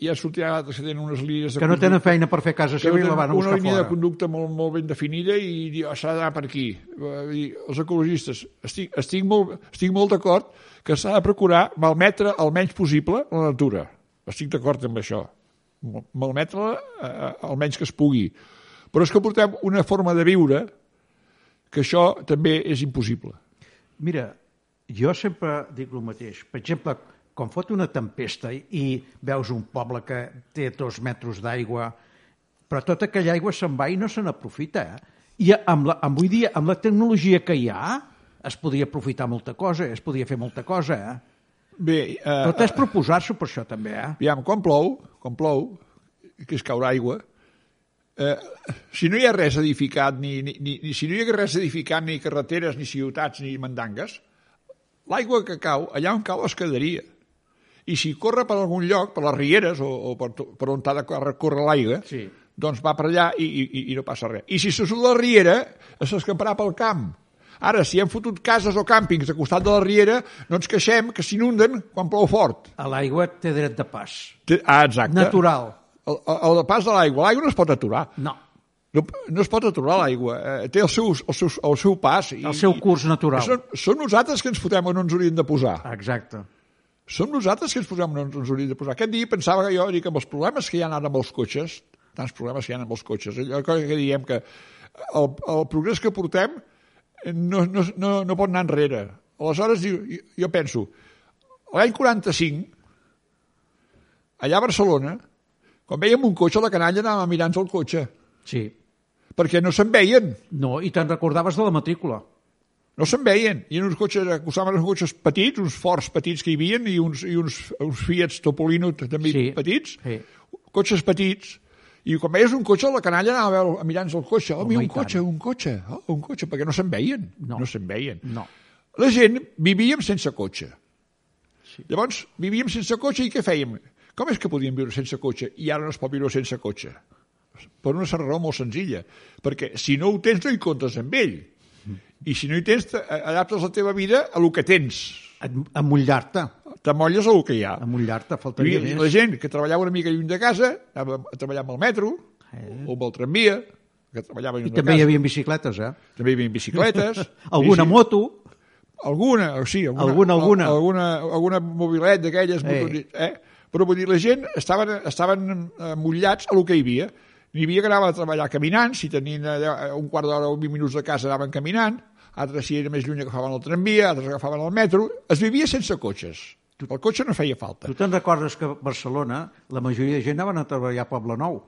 [SPEAKER 2] ja sortiran altres que tenen unes línies de
[SPEAKER 1] Que no
[SPEAKER 2] conducta-
[SPEAKER 1] tenen feina per fer a casa
[SPEAKER 2] que
[SPEAKER 1] seva i
[SPEAKER 2] tenen
[SPEAKER 1] la van a
[SPEAKER 2] una
[SPEAKER 1] buscar
[SPEAKER 2] línia de
[SPEAKER 1] fora.
[SPEAKER 2] conducta molt, molt ben definida i dir, "Ah, s'ha d'anar per aquí. Eh, I els ecologistes, estic, estic molt, estic molt d'acord que s'ha de procurar malmetre el menys possible la natura. Estic d'acord amb això. Mal- Malmetre-la eh, el menys que es pugui. Però és que portem una forma de viure que això també és impossible.
[SPEAKER 1] Mira, jo sempre dic el mateix. Per exemple, quan fot una tempesta i- i veus un poble que té dos metres d'aigua, però tota aquella aigua se'n va i no se n'aprofita. Eh? I amb la, amb, avui dia, amb la tecnologia que hi ha, es podria aprofitar molta cosa, es podria fer molta cosa. Eh?
[SPEAKER 2] Bé, eh,
[SPEAKER 1] Tot és proposar-s'ho per això, també. Eh?
[SPEAKER 2] Aviam, quan plou, quan plou, que es caurà aigua, eh, si no hi ha res edificat, ni, ni, ni, ni- si no hi ha res edificat, ni carreteres, ni ciutats, ni mandangues, l'aigua que cau, allà on cau es quedaria. I si corre per algun lloc, per les rieres o, o per, to- per on ha de córrer, córrer l'aigua,
[SPEAKER 1] Sí.
[SPEAKER 2] doncs va per allà i, i, i no passa res. I si se surt la riera, s'escamparà pel camp. Ara, si hem fotut cases o càmpings al costat de la riera, no ens queixem que s'inunden quan plou fort.
[SPEAKER 1] A l'aigua té dret de pas.
[SPEAKER 2] Té- Ah, exacte.
[SPEAKER 1] Natural.
[SPEAKER 2] El, el, el pas de l'aigua, l'aigua no es pot aturar.
[SPEAKER 1] No.
[SPEAKER 2] No, no es pot aturar l'aigua. Eh, té el seu, el, seu, el seu pas. I,
[SPEAKER 1] El seu curs natural.
[SPEAKER 2] Són, són nosaltres que ens fotem on ens hauríem de posar.
[SPEAKER 1] Exacte.
[SPEAKER 2] Som nosaltres que ens posem on ens hauríem de posar. Aquest dia pensava que jo, dic, amb els problemes que hi ha ara amb els cotxes, tants problemes que hi ha amb els cotxes, allò que que diem que el, el progrés que portem no, no, no, no pot anar enrere. Aleshores, diu- jo, jo penso, l'any 45, allà a Barcelona, quan veiem un cotxe, la canalla anava mirant-se el cotxe,
[SPEAKER 1] Sí.
[SPEAKER 2] perquè no se'n veien.
[SPEAKER 1] No, i te'n recordaves de la matrícula.
[SPEAKER 2] No se'n veien. Hi havia uns cotxes, acostaven uns cotxes petits, uns forts petits que hi havia, i uns, i uns, uns Fiat Topolino també
[SPEAKER 1] Sí,
[SPEAKER 2] petits.
[SPEAKER 1] sí.
[SPEAKER 2] Cotxes petits. I quan veies un cotxe, la canalla anava a veure- a mirar-nos el cotxe. Oh, mira,
[SPEAKER 1] i
[SPEAKER 2] un
[SPEAKER 1] tant.
[SPEAKER 2] cotxe, un cotxe, oh, un cotxe, perquè no se'n veien.
[SPEAKER 1] No.
[SPEAKER 2] se'n veien.
[SPEAKER 1] No.
[SPEAKER 2] La gent vivíem sense cotxe. Sí. Llavors, vivíem sense cotxe i què fèiem? Com és que podíem viure sense cotxe i ara no es pot viure sense cotxe? Per una raó molt senzilla, perquè si no ho tens no hi comptes amb ell. I si no hi tens, te- eh, adaptes la teva vida a lo que tens.
[SPEAKER 1] Em- Emmotllar-te.
[SPEAKER 2] T'amolles a lo que hi ha.
[SPEAKER 1] Emmotllar-te, faltaria
[SPEAKER 2] I la
[SPEAKER 1] més.
[SPEAKER 2] gent que treballava una mica lluny de casa anava a treballar amb el metro eh. o amb el tramvia, que treballava lluny
[SPEAKER 1] I
[SPEAKER 2] de
[SPEAKER 1] també hi
[SPEAKER 2] casa.
[SPEAKER 1] havia bicicletes, eh?
[SPEAKER 2] També hi havia bicicletes.
[SPEAKER 1] *laughs* Alguna
[SPEAKER 2] bici-
[SPEAKER 1] moto,
[SPEAKER 2] Alguna, o sí, alguna,
[SPEAKER 1] Alguna, alguna.
[SPEAKER 2] al- alguna, alguna mobilet d'aquelles,
[SPEAKER 1] Eh.
[SPEAKER 2] eh. eh? però vull dir, la gent estaven, estaven eh, mullats a lo que hi havia. N'hi havia que anava a treballar caminant, si tenien allà un quart d'hora o 20 minuts de casa anaven caminant, altres si era més lluny agafaven el tramvia, altres agafaven el metro, es vivia sense cotxes. El cotxe no feia falta.
[SPEAKER 1] tu te'n recordes que a Barcelona la majoria de gent anaven a treballar a Poble Nou.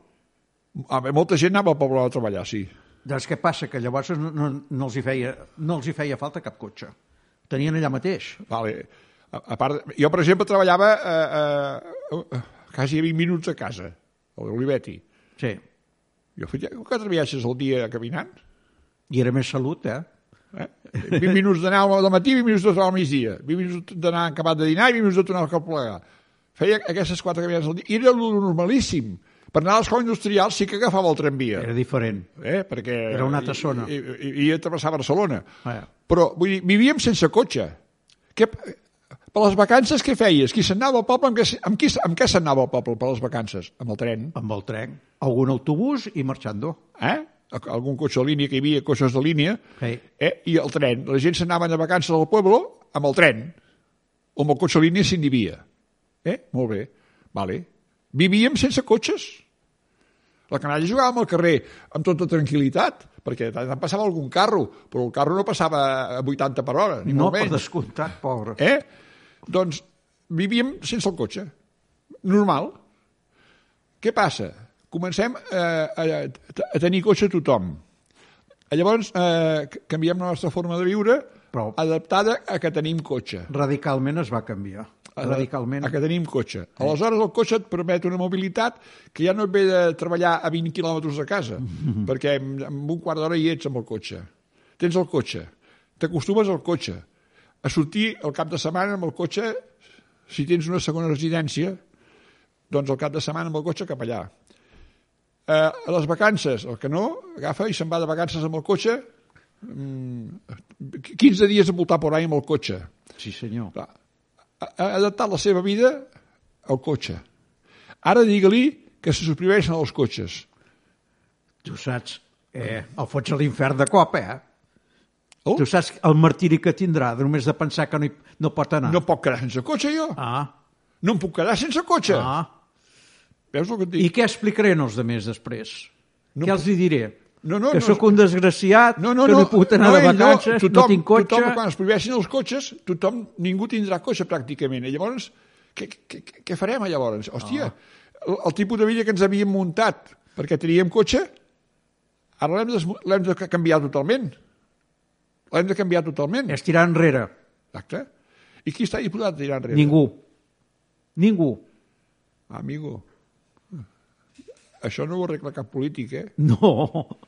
[SPEAKER 2] Home, Ah, molta gent anava al poble a treballar, sí.
[SPEAKER 1] Doncs què passa? Que llavors no, no, no, els hi feia, no els hi feia falta cap cotxe. Tenien allà mateix.
[SPEAKER 2] Vale. A, a part, jo, per exemple, treballava eh, eh, a quasi a 20 minuts de casa, a l'Oliveti.
[SPEAKER 1] Sí.
[SPEAKER 2] Jo feia quatre viatges al dia caminant.
[SPEAKER 1] I era més salut, eh?
[SPEAKER 2] Eh? 20 minuts d'anar al matí, 20 minuts de tornar al migdia, 20 minuts d'anar acabat de dinar i 20 minuts de tornar al cap plegar. Feia aquestes quatre caminades al dia. I era lo normalíssim. Per anar a l'escola industrial sí que agafava el tramvia,
[SPEAKER 1] Era diferent.
[SPEAKER 2] eh? perquè...
[SPEAKER 1] Era una altra zona.
[SPEAKER 2] I, i, i, i travessar Barcelona.
[SPEAKER 1] Ah, ja.
[SPEAKER 2] Però, vull dir, vivíem sense cotxe. Què, per les vacances què feies? Qui se'n anava al poble? Amb què, se- amb, qui, se- amb què se'n anava al poble per les vacances? Amb el tren?
[SPEAKER 1] Amb el tren, algun autobús i marxando.
[SPEAKER 2] eh? algun cotxe de línia, que hi havia cotxes de línia,
[SPEAKER 1] Sí.
[SPEAKER 2] eh? i el tren. La gent s'anava de vacances al poble amb el tren, o amb el cotxe de línia si n'hi havia. Eh? Molt bé, vale. Vivíem sense cotxes. La canalla jugàvem al carrer amb tota tranquil·litat, perquè de tant en tant passava algun carro, però el carro no passava a 80 per hora, ni
[SPEAKER 1] No,
[SPEAKER 2] molt
[SPEAKER 1] per
[SPEAKER 2] menys.
[SPEAKER 1] descomptat, pobre.
[SPEAKER 2] Eh? Doncs vivíem sense el cotxe. Normal. Què passa? Comencem eh, a, a tenir cotxe tothom. Llavors eh, c- canviem la nostra forma de viure
[SPEAKER 1] Però-
[SPEAKER 2] adaptada a que tenim cotxe.
[SPEAKER 1] Radicalment es va canviar.
[SPEAKER 2] A-
[SPEAKER 1] Radicalment.
[SPEAKER 2] A que tenim cotxe. Aleshores el cotxe et permet una mobilitat que ja no et ve de treballar a 20 quilòmetres de casa, perquè en, en un quart d'hora hi ets amb el cotxe. Tens el cotxe, t'acostumes al cotxe, a sortir el cap de setmana amb el cotxe, si tens una segona residència, doncs el cap de setmana amb el cotxe cap allà. Eh, a les vacances, el que no, agafa i se'n va de vacances amb el cotxe, mm, 15 dies a voltar por ahí amb el cotxe
[SPEAKER 1] Sí, senyor.
[SPEAKER 2] clar, ha ha adaptat la seva vida al cotxe. Ara digue-li que se suprimeixen els cotxes.
[SPEAKER 1] Tu saps, eh, el fots a l'infern de cop, eh?
[SPEAKER 2] Oh.
[SPEAKER 1] Tu saps el martiri que tindrà, de només de pensar que no, hi, no pot anar.
[SPEAKER 2] No puc quedar sense cotxe, jo.
[SPEAKER 1] Ah,
[SPEAKER 2] No em puc quedar sense cotxe.
[SPEAKER 1] ah.
[SPEAKER 2] Veus el que et
[SPEAKER 1] I
[SPEAKER 2] dic?
[SPEAKER 1] què explicaré als demés després? No, què els hi diré?
[SPEAKER 2] No, no,
[SPEAKER 1] que
[SPEAKER 2] no.
[SPEAKER 1] sóc un desgraciat, que no he pogut anar de
[SPEAKER 2] ell
[SPEAKER 1] vacances, no,
[SPEAKER 2] tothom,
[SPEAKER 1] tinc cotxe...
[SPEAKER 2] Tothom, quan es prohibeixin els cotxes, tothom, ningú tindrà cotxe pràcticament. I llavors, què, què, què- què farem llavors? Hòstia,
[SPEAKER 1] Ah.
[SPEAKER 2] el, el tipus de vida que ens havíem muntat perquè teníem cotxe, ara l'hem de, l'hem de canviar totalment. L'hem de canviar totalment.
[SPEAKER 1] És tirar enrere.
[SPEAKER 2] Exacte. I qui està disposat a tirar enrere?
[SPEAKER 1] Ningú. Ningú.
[SPEAKER 2] Amigo, això no ho arregla cap polític, eh?
[SPEAKER 1] No.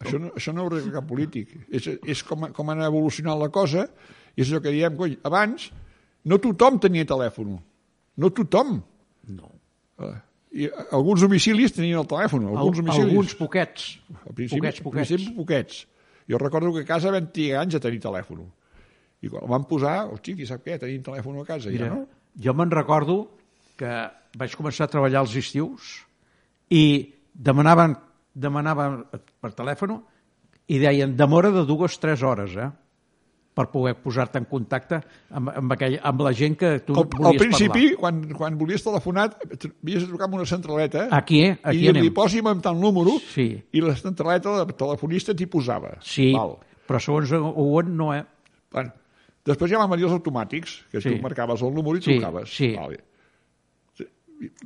[SPEAKER 2] Això no, això no ho arregla cap polític. És, és com, com han evolucionat la cosa, i és allò que diem, coi, abans no tothom tenia telèfon. No tothom.
[SPEAKER 1] No.
[SPEAKER 2] Eh, I alguns domicilis tenien el telèfon, alguns domicilis.
[SPEAKER 1] Alguns poquets.
[SPEAKER 2] Al principi,
[SPEAKER 1] poquets,
[SPEAKER 2] Al
[SPEAKER 1] poquets.
[SPEAKER 2] principi, poquets. Jo recordo que a casa vam tenir anys a tenir telèfon. I quan el van posar, hosti, qui sap què, tenim telèfon a casa,
[SPEAKER 1] Mira,
[SPEAKER 2] ja no?
[SPEAKER 1] jo me'n recordo que vaig començar a treballar als estius i demanaven, demanaven per telèfon i deien demora de dues o tres hores, eh? per poder posar-te en contacte amb, amb, aquell, amb la gent que tu
[SPEAKER 2] Al, al
[SPEAKER 1] volies
[SPEAKER 2] principi, quan, quan volies telefonar, tr- havies de trucar amb una centraleta
[SPEAKER 1] parlar. Aquí, eh?
[SPEAKER 2] i
[SPEAKER 1] aquí
[SPEAKER 2] dir-li,
[SPEAKER 1] anem.
[SPEAKER 2] posi'm amb tant número,
[SPEAKER 1] Sí.
[SPEAKER 2] i la centraleta, la telefonista, t'hi posava.
[SPEAKER 1] Sí,
[SPEAKER 2] Val.
[SPEAKER 1] però segons on no, eh?
[SPEAKER 2] Bueno, després ja van venir els automàtics, que
[SPEAKER 1] Sí.
[SPEAKER 2] tu marcaves el número i
[SPEAKER 1] Sí,
[SPEAKER 2] trucaves.
[SPEAKER 1] sí.
[SPEAKER 2] Vale.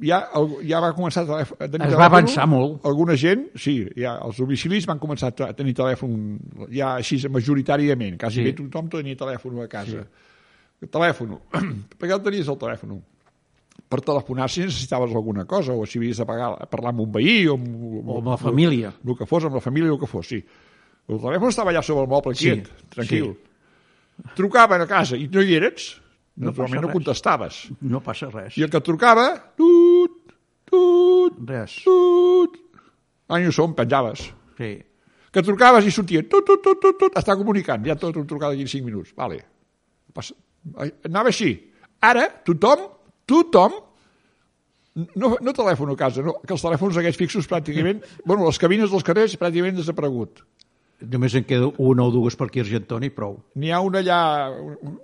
[SPEAKER 2] Ja, el- ja va començar a telèfon, a tenir
[SPEAKER 1] Es va
[SPEAKER 2] telèfon.
[SPEAKER 1] avançar molt.
[SPEAKER 2] Alguna gent, sí, ja, els domicilis van començar a tenir telèfon ja així majoritàriament,
[SPEAKER 1] Sí.
[SPEAKER 2] quasi bé tothom tenia telèfon a casa. Sí. Telèfon. *clears throat* per què el tenies el telèfon? Per telefonar si necessitaves alguna cosa, o si havies de pagar, parlar amb un veí, o amb,
[SPEAKER 1] O amb la família.
[SPEAKER 2] el que fos, amb la família, el que fos, sí. El telèfon estava allà sobre el moble,
[SPEAKER 1] Sí,
[SPEAKER 2] quiet, tranquil. Trucaven a casa i no hi eres,
[SPEAKER 1] No passa
[SPEAKER 2] naturalment no
[SPEAKER 1] res.
[SPEAKER 2] contestaves.
[SPEAKER 1] No passa res.
[SPEAKER 2] I el que et trucava, tut, tut,
[SPEAKER 1] Res.
[SPEAKER 2] tut, any ho som, penjaves.
[SPEAKER 1] Sí.
[SPEAKER 2] Que et trucaves i sortia, tut, tut, tut, tut, tut, està comunicant, ja tot un trucada aquí en 5 minuts, vale. Passa. Ai, Anava així. Ara, tothom, tothom, no, no telèfon a casa, no, que els telèfons aquests fixos pràcticament, bueno, les cabines dels carrers pràcticament desaparegut.
[SPEAKER 1] Només en queda una o dues per aquí a Argentona i prou.
[SPEAKER 2] n'hi ha una allà un- un-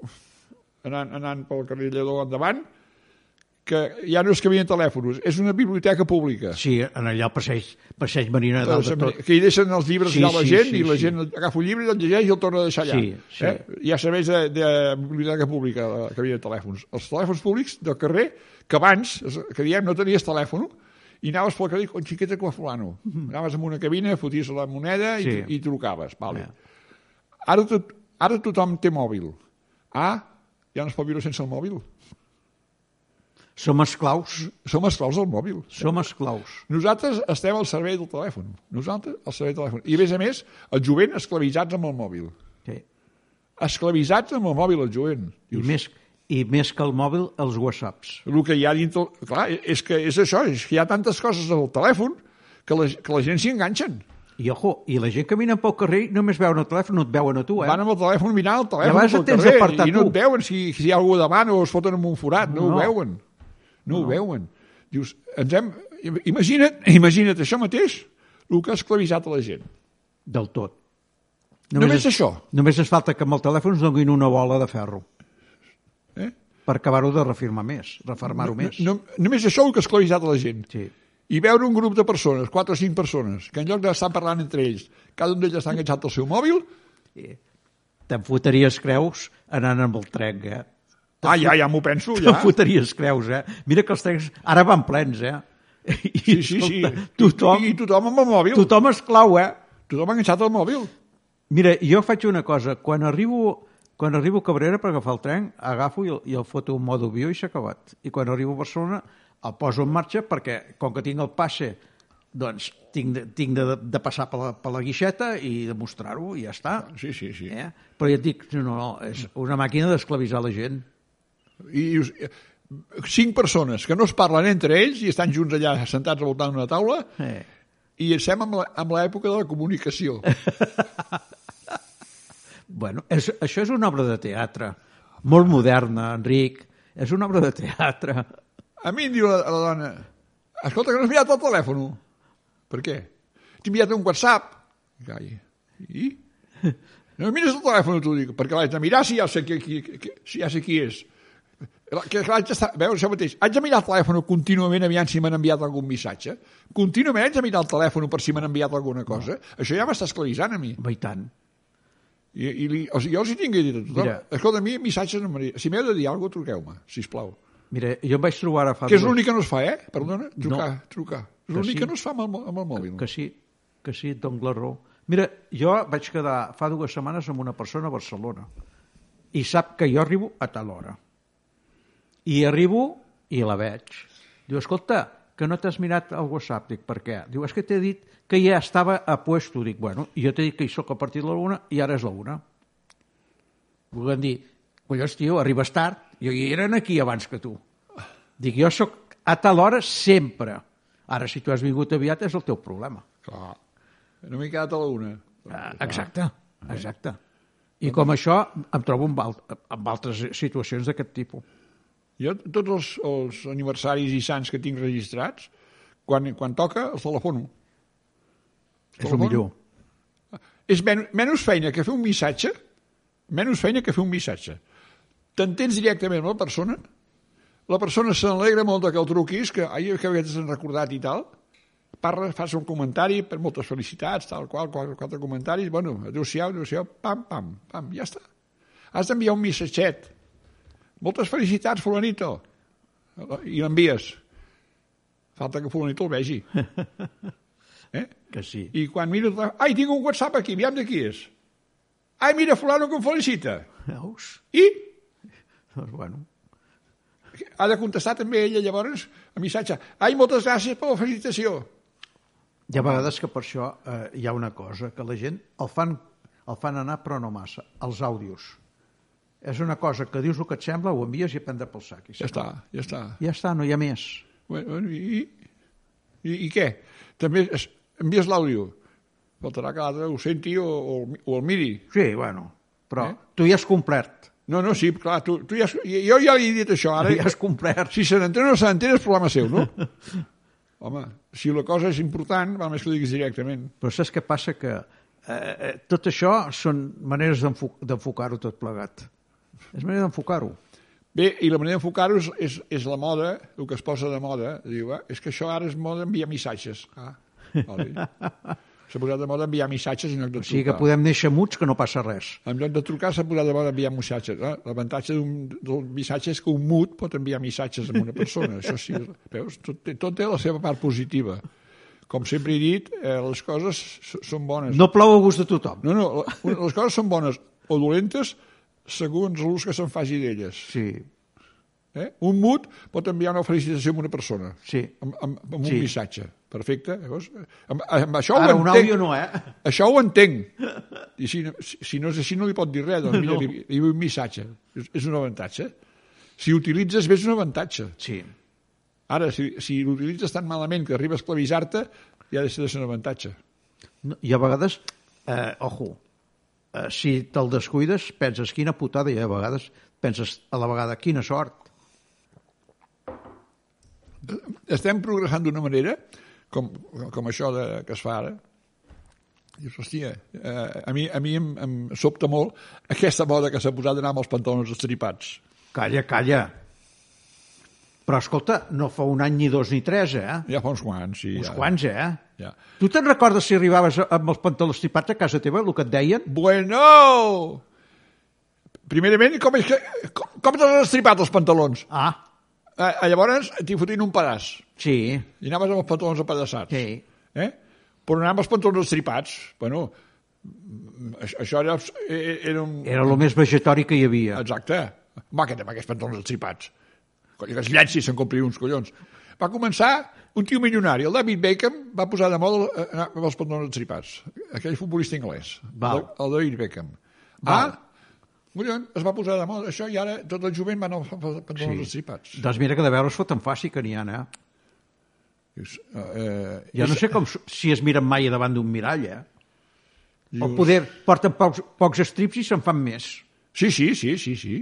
[SPEAKER 2] anant, anant pel carrer Lledó endavant que ja no és que havien telèfons, és una biblioteca pública.
[SPEAKER 1] Sí, en allà el passeig, passeig marina dalt de tot.
[SPEAKER 2] Que hi deixen els llibres
[SPEAKER 1] Sí,
[SPEAKER 2] allà a la
[SPEAKER 1] sí,
[SPEAKER 2] gent
[SPEAKER 1] sí,
[SPEAKER 2] i la
[SPEAKER 1] sí.
[SPEAKER 2] gent agafa un llibre i el llegeix i el torna a deixar allà.
[SPEAKER 1] Sí, sí.
[SPEAKER 2] Eh? Ja serveix de, de biblioteca pública la cabina de telèfons. Els telèfons públics del carrer, que abans, es- que diem, no tenies telèfon, i anaves pel carrer con xiqueta con fulano. Anaves amb una cabina, foties la moneda i,
[SPEAKER 1] Mhm. Sí.
[SPEAKER 2] i trucaves. Vale. Ara, tot, ara tothom té mòbil. Ah, ja no es pot viure sense el mòbil.
[SPEAKER 1] Som esclaus.
[SPEAKER 2] Som esclaus del mòbil.
[SPEAKER 1] Som esclaus.
[SPEAKER 2] Nosaltres estem al servei del telèfon. Nosaltres al servei del telèfon. I a més a més, el jovent esclavitzats amb el mòbil.
[SPEAKER 1] Sí.
[SPEAKER 2] Esclavitzats amb el mòbil, el jovent.
[SPEAKER 1] I més, i més que el mòbil, els whatsapps.
[SPEAKER 2] El que hi ha dintre... Clar, és que és això, és que hi ha tantes coses al telèfon que la, que la gent s'hi enganxen.
[SPEAKER 1] I ojo, i la gent camina pel carrer i només veuen el telèfon, no et veuen a tu, eh?
[SPEAKER 2] Van amb el telèfon mirant el telèfon
[SPEAKER 1] Llavors
[SPEAKER 2] pel
[SPEAKER 1] et tens
[SPEAKER 2] carrer
[SPEAKER 1] d'apartar
[SPEAKER 2] i
[SPEAKER 1] tu.
[SPEAKER 2] no et veuen si, si hi ha algú davant o es foten en un forat, no,
[SPEAKER 1] No.
[SPEAKER 2] ho veuen. No, no ho veuen. Dius, ens hem... Imagina't, imagina't això mateix, el que ha esclavitzat a la gent.
[SPEAKER 1] Del tot.
[SPEAKER 2] Només això.
[SPEAKER 1] Només ens falta que amb el telèfon ens donin una bola de ferro
[SPEAKER 2] Eh?
[SPEAKER 1] per acabar-ho de reafirmar més, refermar-ho més.
[SPEAKER 2] No, només això el que ha esclavitzat a la gent.
[SPEAKER 1] Sí.
[SPEAKER 2] I veure un grup de persones, 4 o 5 persones, que en lloc d'estar parlant entre ells, cada un d'ells està enganxat al seu mòbil,
[SPEAKER 1] Te'n fotries creus anant amb el tren, eh?
[SPEAKER 2] ah, ja, ja m'ho penso,
[SPEAKER 1] Te'n
[SPEAKER 2] ja.
[SPEAKER 1] fotries creus, eh? Mira que els trens ara van plens, eh? I,
[SPEAKER 2] Sí, sí, sí.
[SPEAKER 1] escolta, Tothom,
[SPEAKER 2] I, I tothom amb el mòbil. Tothom,
[SPEAKER 1] tothom es clau, eh?
[SPEAKER 2] tothom enganxat al mòbil.
[SPEAKER 1] Mira, jo faig una cosa. Quan arribo, quan arribo a Cabrera per agafar el tren, agafo i el, i el foto en modo avió i s'ha acabat. I quan arribo a Barcelona el poso en marxa perquè, com que tinc el passe, doncs tinc de, tinc de, de passar per la, per la guixeta i demostrar-ho i ja està.
[SPEAKER 2] Sí, sí, sí.
[SPEAKER 1] Eh? Però ja et dic, no, no, és una màquina d'esclavitzar la gent.
[SPEAKER 2] I dius, eh, cinc persones que no es parlen entre ells i estan junts allà sentats al voltant d'una taula
[SPEAKER 1] Eh.
[SPEAKER 2] i estem amb la- amb l'època de la comunicació.
[SPEAKER 1] Bueno, és, això és una obra de teatre, molt moderna, Enric. És una obra de teatre.
[SPEAKER 2] A mi em diu la, la dona, escolta, que no has mirat el telèfon. Per què? T'he enviat un WhatsApp. Gai. I? No mires el telèfon, tu, dic, perquè l'haig de mirar si ja sé qui, qui, qui, si ja sé qui és. La- Que, que l'haig d'estar, veus, això mateix, haig de mirar el telèfon contínuament aviam si m'han enviat algun missatge. Contínuament haig de mirar el telèfon per si m'han enviat alguna cosa. Això ja m'està esclavitzant a mi.
[SPEAKER 1] Home, I tant.
[SPEAKER 2] I, i li, o sigui, jo els hi tinc que dir a tothom.
[SPEAKER 1] Mira.
[SPEAKER 2] Escolta, a mi missatges no m'arriben. Si m'heu de dir alguna cosa, truqueu-me, sisplau.
[SPEAKER 1] Mira, jo em vaig trobar ara fa...
[SPEAKER 2] Que és
[SPEAKER 1] dues-
[SPEAKER 2] l'únic que no es fa, eh? Perdona, trucar,
[SPEAKER 1] No.
[SPEAKER 2] trucar. És l'únic
[SPEAKER 1] sí.
[SPEAKER 2] que no es fa amb el, mo- amb el mòbil.
[SPEAKER 1] Que sí, que sí, et dono la raó. Mira, jo vaig quedar fa dues setmanes amb una persona a Barcelona i sap que jo arribo a tal hora. I arribo i la veig. Diu, escolta, que no t'has mirat el WhatsApp. Dic, per què? Diu, és que t'he dit que ja estava a puesto. Dic, bueno, i jo t'he dit que hi sóc a partir de la una i ara és la una. Volien dir, collons, tio, arribes tard. Jo hi eren aquí abans que tu. Dic, jo sóc a tal hora sempre. Ara, si tu has vingut aviat, és el teu problema.
[SPEAKER 2] Clar. No m'he quedat a la una.
[SPEAKER 1] Ah, Exacte, exacte. I com això em trobo amb, al, amb altres situacions d'aquest tipus.
[SPEAKER 2] Jo, tots els, els aniversaris i sants que tinc registrats, quan, quan toca, els telefono.
[SPEAKER 1] És el millor.
[SPEAKER 2] És men menys feina que fer un missatge, menys feina que fer un missatge. T'entens directament amb la persona, la persona s'alegra molt de que el truquis, que ai, que aquest s'han recordat i tal, parla, fas un comentari, per moltes felicitats, tal qual, quatre, quatre comentaris, bueno, adéu-siau, adéu-siau, pam, pam, pam, ja està. Has d'enviar un missatget. Moltes felicitats, fulanito. I l'envies. Falta que fulanito el vegi. Eh?
[SPEAKER 1] Que sí.
[SPEAKER 2] I quan miro... el telèfon, Ai, tinc un WhatsApp aquí, aviam de qui és. Ai, mira, fulano que em felicita.
[SPEAKER 1] Veus?
[SPEAKER 2] I
[SPEAKER 1] Doncs, bueno,
[SPEAKER 2] ha de contestar també ella llavors el missatge. Ai, moltes gràcies per la felicitació.
[SPEAKER 1] hi ha vegades que per això eh, hi ha una cosa, que la gent el fan, el fan anar però no massa, els àudios. És una cosa que dius el que et sembla, ho envies i prendre pel sac. I
[SPEAKER 2] Ja està, ja està.
[SPEAKER 1] ja està, no hi ha més.
[SPEAKER 2] Bueno, bueno, i, i, I què? També es, envies l'àudio. Faltarà que l'altre ho senti o, o, el mi- o el miri.
[SPEAKER 1] Sí, bueno, però
[SPEAKER 2] Eh?
[SPEAKER 1] eh? tu ja has complert.
[SPEAKER 2] No, no, sí, clar, tu, tu ja, has- jo ja li he dit això ara.
[SPEAKER 1] Ja has complert.
[SPEAKER 2] Si se n'entén o no se n'entén és problema seu, no? Home, si la cosa és important, val més que ho diguis directament.
[SPEAKER 1] Però saps què passa? Que eh, eh, tot això són maneres d'enfo- d'enfocar-ho tot plegat. És manera d'enfocar-ho.
[SPEAKER 2] Bé, i la manera d'enfocar-ho és, és, és la moda, el que es posa de moda. Diu, eh? és que això ara és moda enviar missatges. Ah, vale. S'ha posat de moda enviar missatges en lloc de
[SPEAKER 1] O sigui
[SPEAKER 2] trucar.
[SPEAKER 1] que podem néixer muts que no passa res.
[SPEAKER 2] En lloc de trucar s'ha posat de moda enviar missatges. Eh? L'avantatge d'un del missatge és que un mut pot enviar missatges a una persona. això sí, veus? Tot, té- tot té la seva part positiva. Com sempre he dit, eh, les coses s- són bones.
[SPEAKER 1] No plou a gust de tothom.
[SPEAKER 2] no, no la- les coses són bones o dolentes segons l'ús que se'n faci d'elles.
[SPEAKER 1] Sí,
[SPEAKER 2] Eh? Un mut pot enviar una felicitació a una persona
[SPEAKER 1] sí.
[SPEAKER 2] amb, amb, amb un
[SPEAKER 1] Sí.
[SPEAKER 2] missatge. Perfecte. Llavors, amb, amb això
[SPEAKER 1] Ara,
[SPEAKER 2] ho
[SPEAKER 1] un
[SPEAKER 2] entenc.
[SPEAKER 1] àudio no, eh?
[SPEAKER 2] Això ho entenc.
[SPEAKER 1] *laughs*
[SPEAKER 2] I si, no- si, si no és així no li pot dir res, doncs mira, no. li, li, li un missatge. És, és un avantatge. Si utilitzes, ves un avantatge.
[SPEAKER 1] Sí.
[SPEAKER 2] Ara, si, si l'utilitzes tan malament que arribes a esclavitzar-te, ja deixa de ser un avantatge.
[SPEAKER 1] No, I a vegades, eh, ojo, eh, si te'l descuides, penses quina putada, i a vegades penses a la vegada quina sort.
[SPEAKER 2] Estem progressant d'una manera, com, com això de, que es fa ara, Dius, hòstia, eh, a mi, a mi em, em sobta molt aquesta moda que s'ha posat d'anar amb els pantalons estripats.
[SPEAKER 1] Calla, calla. Però escolta, no fa un any, ni dos, ni tres, eh?
[SPEAKER 2] Ja fa uns quants, sí.
[SPEAKER 1] Uns
[SPEAKER 2] ja.
[SPEAKER 1] quants, eh?
[SPEAKER 2] Ja.
[SPEAKER 1] Tu te'n recordes si arribaves a- amb els pantalons tipats a casa teva, el que et deien?
[SPEAKER 2] Bueno! Primerament, com, és que, com, com te l'has estripat els pantalons?
[SPEAKER 1] Ah,
[SPEAKER 2] Eh, llavors t'hi fotien un pedaç
[SPEAKER 1] sí,
[SPEAKER 2] i anaves amb els pantalons apedaçats.
[SPEAKER 1] sí.
[SPEAKER 2] Eh? Però anar amb els pantalons estripats, bueno, mm, aix- això era, abs- e- e- era un...
[SPEAKER 1] Era el més vegetari que hi havia.
[SPEAKER 2] Exacte. Va, que té amb aquests pantalons estripats. Coi, que es llenci, se'n compri uns, collons. Va començar un tio milionari, el David Beckham, va posar de moda eh, anar amb els pantalons estripats. Aquell futbolista anglès,
[SPEAKER 1] Val.
[SPEAKER 2] el- el David Beckham. Va,
[SPEAKER 1] Val.
[SPEAKER 2] collons, es va posar de moda això i ara tot el jovent va anar amb els pantalons
[SPEAKER 1] Sí.
[SPEAKER 2] estripats.
[SPEAKER 1] Doncs mira que de veure's foten fàcil que n'hi ha, eh?
[SPEAKER 2] Dius, eh,
[SPEAKER 1] Ja no sé com, si es miren mai davant d'un mirall, eh? O poder porten pocs, pocs estrips i se'n fan més.
[SPEAKER 2] Sí, sí, sí, sí, sí.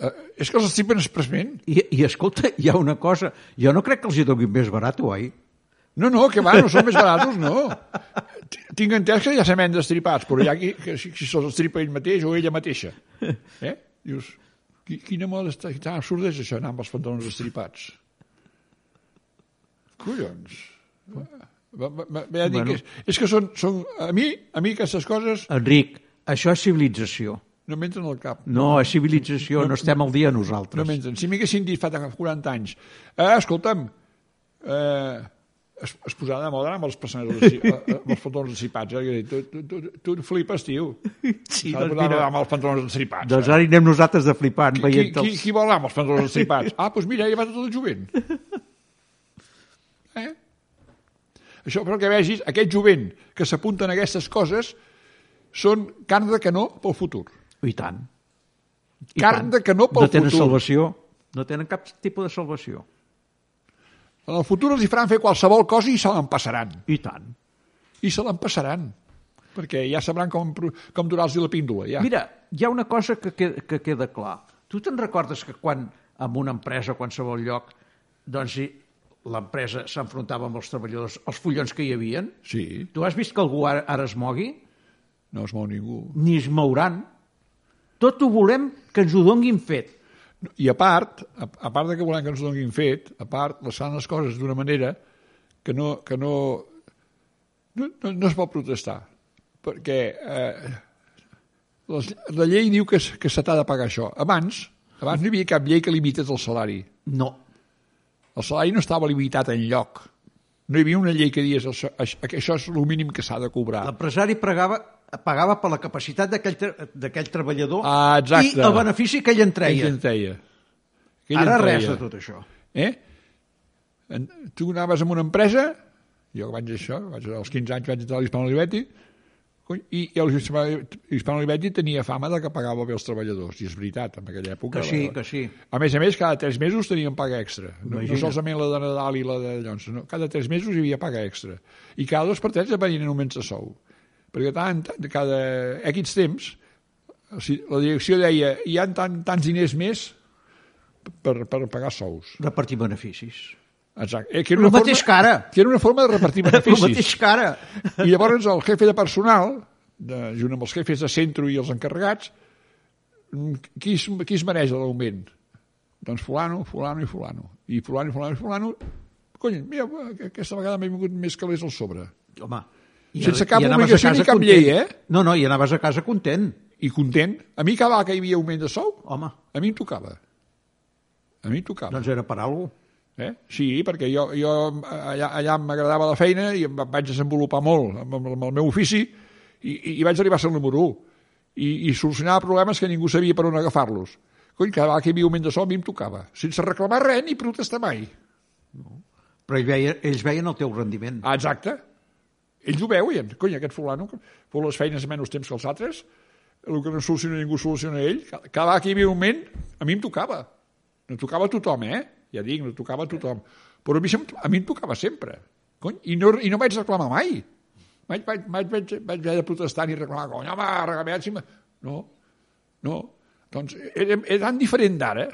[SPEAKER 2] Eh, és que els estripen expressment.
[SPEAKER 1] I, I escolta, hi ha una cosa, jo no crec que els hi donin més barat, oi?
[SPEAKER 2] No, no, que va, no són més baratos, no. T- Tinc entès que ja se m'han destripats, però ja qui, que si, si se'ls estripa ell mateix o ella mateixa. Eh? Dius, qui- quina moda està... Tan absurd és això, anar amb els pantalons estripats. Collons. Va, va, va, ja
[SPEAKER 1] Bueno.
[SPEAKER 2] dic, bueno. és, és que són, són... A mi, a mi aquestes coses
[SPEAKER 1] Enric, això és civilització.
[SPEAKER 2] no m'entren al cap.
[SPEAKER 1] No, és civilització, no, estem al dia nosaltres.
[SPEAKER 2] No mengen. Si m'haguessin dit fa 40 anys, eh, escolta'm, eh, es, es posarà de moda amb els personatges, eh, eh, amb els pantalons encipats. Eh? Jo dic, Tu, tu, tu, tu et flipes, tio.
[SPEAKER 1] *laughs* Sí,
[SPEAKER 2] S'ha de
[SPEAKER 1] doncs
[SPEAKER 2] posar
[SPEAKER 1] mira.
[SPEAKER 2] amb els pantalons encipats.
[SPEAKER 1] Doncs ara hi anem nosaltres de flipant,
[SPEAKER 2] qui,
[SPEAKER 1] veient
[SPEAKER 2] qui,
[SPEAKER 1] els...
[SPEAKER 2] qui vol anar amb els pantalons encipats? Ah, doncs mira, ja va tot el jovent.
[SPEAKER 1] *laughs*
[SPEAKER 2] Eh? Això, però que vegis, aquest jovent que s'apunten a aquestes coses són carn de canó pel futur.
[SPEAKER 1] I tant. I
[SPEAKER 2] Carn de canó pel
[SPEAKER 1] No tenen
[SPEAKER 2] futur.
[SPEAKER 1] salvació. No tenen cap tipus de salvació.
[SPEAKER 2] En el futur els hi faran fer qualsevol cosa i se l'empassaran.
[SPEAKER 1] I tant.
[SPEAKER 2] i se l'empassaran perquè ja sabran com, pro- com durar-los la píndola ja.
[SPEAKER 1] Mira, hi ha una cosa que, que, que queda clar. Tu te'n recordes que quan en una empresa o qualsevol lloc doncs hi- l'empresa s'enfrontava amb els treballadors, els follons que hi havien?
[SPEAKER 2] sí,
[SPEAKER 1] Tu has vist que algú ara, ara es mogui?
[SPEAKER 2] no es mou ningú
[SPEAKER 1] Ni es mouran. Tot ho volem que ens ho donguin fet.
[SPEAKER 2] i a part, a, a part de que volem que ens ho donin fet a part, les fan les coses d'una manera que no que no, no, no, no es pot protestar perquè eh, les, la llei diu que, s- que se t'ha de pagar això abans, abans no hi havia cap llei que limités el salari
[SPEAKER 1] No.
[SPEAKER 2] El salari no estava limitat en lloc. No hi havia una llei que dies això, això que això és el mínim que s'ha de cobrar.
[SPEAKER 1] L'empresari pregava pagava per la capacitat d'aquell tra- d'aquell treballador
[SPEAKER 2] Ah, exacte.
[SPEAKER 1] i el benefici que ell en treia.
[SPEAKER 2] Ell en treia. Que ell
[SPEAKER 1] Ara
[SPEAKER 2] en treia.
[SPEAKER 1] res de tot això.
[SPEAKER 2] Eh? En, tu anaves en una empresa, jo que vaig a això, vaig, als 15 anys vaig entrar a l'Hispano Liberty, cony, i, i l'Hispano Liberty tenia fama de que pagava bé els treballadors, i és veritat, en aquella època.
[SPEAKER 1] Que sí,
[SPEAKER 2] la-
[SPEAKER 1] que sí.
[SPEAKER 2] A més a més, cada tres mesos tenien paga extra. No, no
[SPEAKER 1] Imagina't.
[SPEAKER 2] solament la de Nadal i la de Llons, no? cada tres mesos hi havia paga extra. I cada dos per tres et venien un menys de sou. Perquè tant, cada equips temps, o sigui, la direcció deia hi ha tant, tants diners més per, per pagar sous.
[SPEAKER 1] Repartir beneficis.
[SPEAKER 2] Exacte. Eh, que
[SPEAKER 1] El mateix que ara.
[SPEAKER 2] Que era una forma de
[SPEAKER 1] *laughs*
[SPEAKER 2] repartir
[SPEAKER 1] El
[SPEAKER 2] beneficis.
[SPEAKER 1] mateix que ara.
[SPEAKER 2] I llavors el jefe de personal, de, junt amb els jefes de centro i els encarregats, mm, qui es, qui es mereix l'augment? Doncs fulano, fulano i fulano. I fulano, i fulano i fulano. Cony, mira, aqu- aquesta vegada m'he vingut més calés al sobre.
[SPEAKER 1] Home, i
[SPEAKER 2] Sense
[SPEAKER 1] ara-
[SPEAKER 2] cap
[SPEAKER 1] i anaves
[SPEAKER 2] obligació
[SPEAKER 1] a casa
[SPEAKER 2] ni cap
[SPEAKER 1] content.
[SPEAKER 2] llei, eh?
[SPEAKER 1] No, no, i anaves a casa content,
[SPEAKER 2] I content. A mi cada vegada que hi havia augment de sou,
[SPEAKER 1] home.
[SPEAKER 2] a mi em tocava. A mi em tocava.
[SPEAKER 1] Doncs era per alguna cosa.
[SPEAKER 2] Eh? Sí, perquè jo, jo allà, allà m'agradava la feina i em vaig desenvolupar molt amb, amb, amb el meu ofici i, i, i vaig arribar a ser el número 1 i, i solucionava problemes que ningú sabia per on agafar-los. Cony, cada vegada que hi havia un moment de sol a mi em tocava, sense reclamar res ni protestar mai.
[SPEAKER 1] Però ells veien, ells veien el teu rendiment.
[SPEAKER 2] Ah, exacte. Ells ho veuen. Cony, aquest fulano que fou les feines menys temps que els altres, el que no soluciona ningú soluciona ell. Cada vegada que hi havia un moment, a mi em tocava. no tocava a tothom, eh? Ja dic, no tocava a tothom. Però a mi, sem- a mi em tocava sempre. Cony, i, no, I no vaig reclamar mai. Vaig, vaig, vaig, vaig, vaig haver de protestar ni reclamar. Cony, home, regameat, si me-" No, no. Doncs era, era tan diferent d'ara.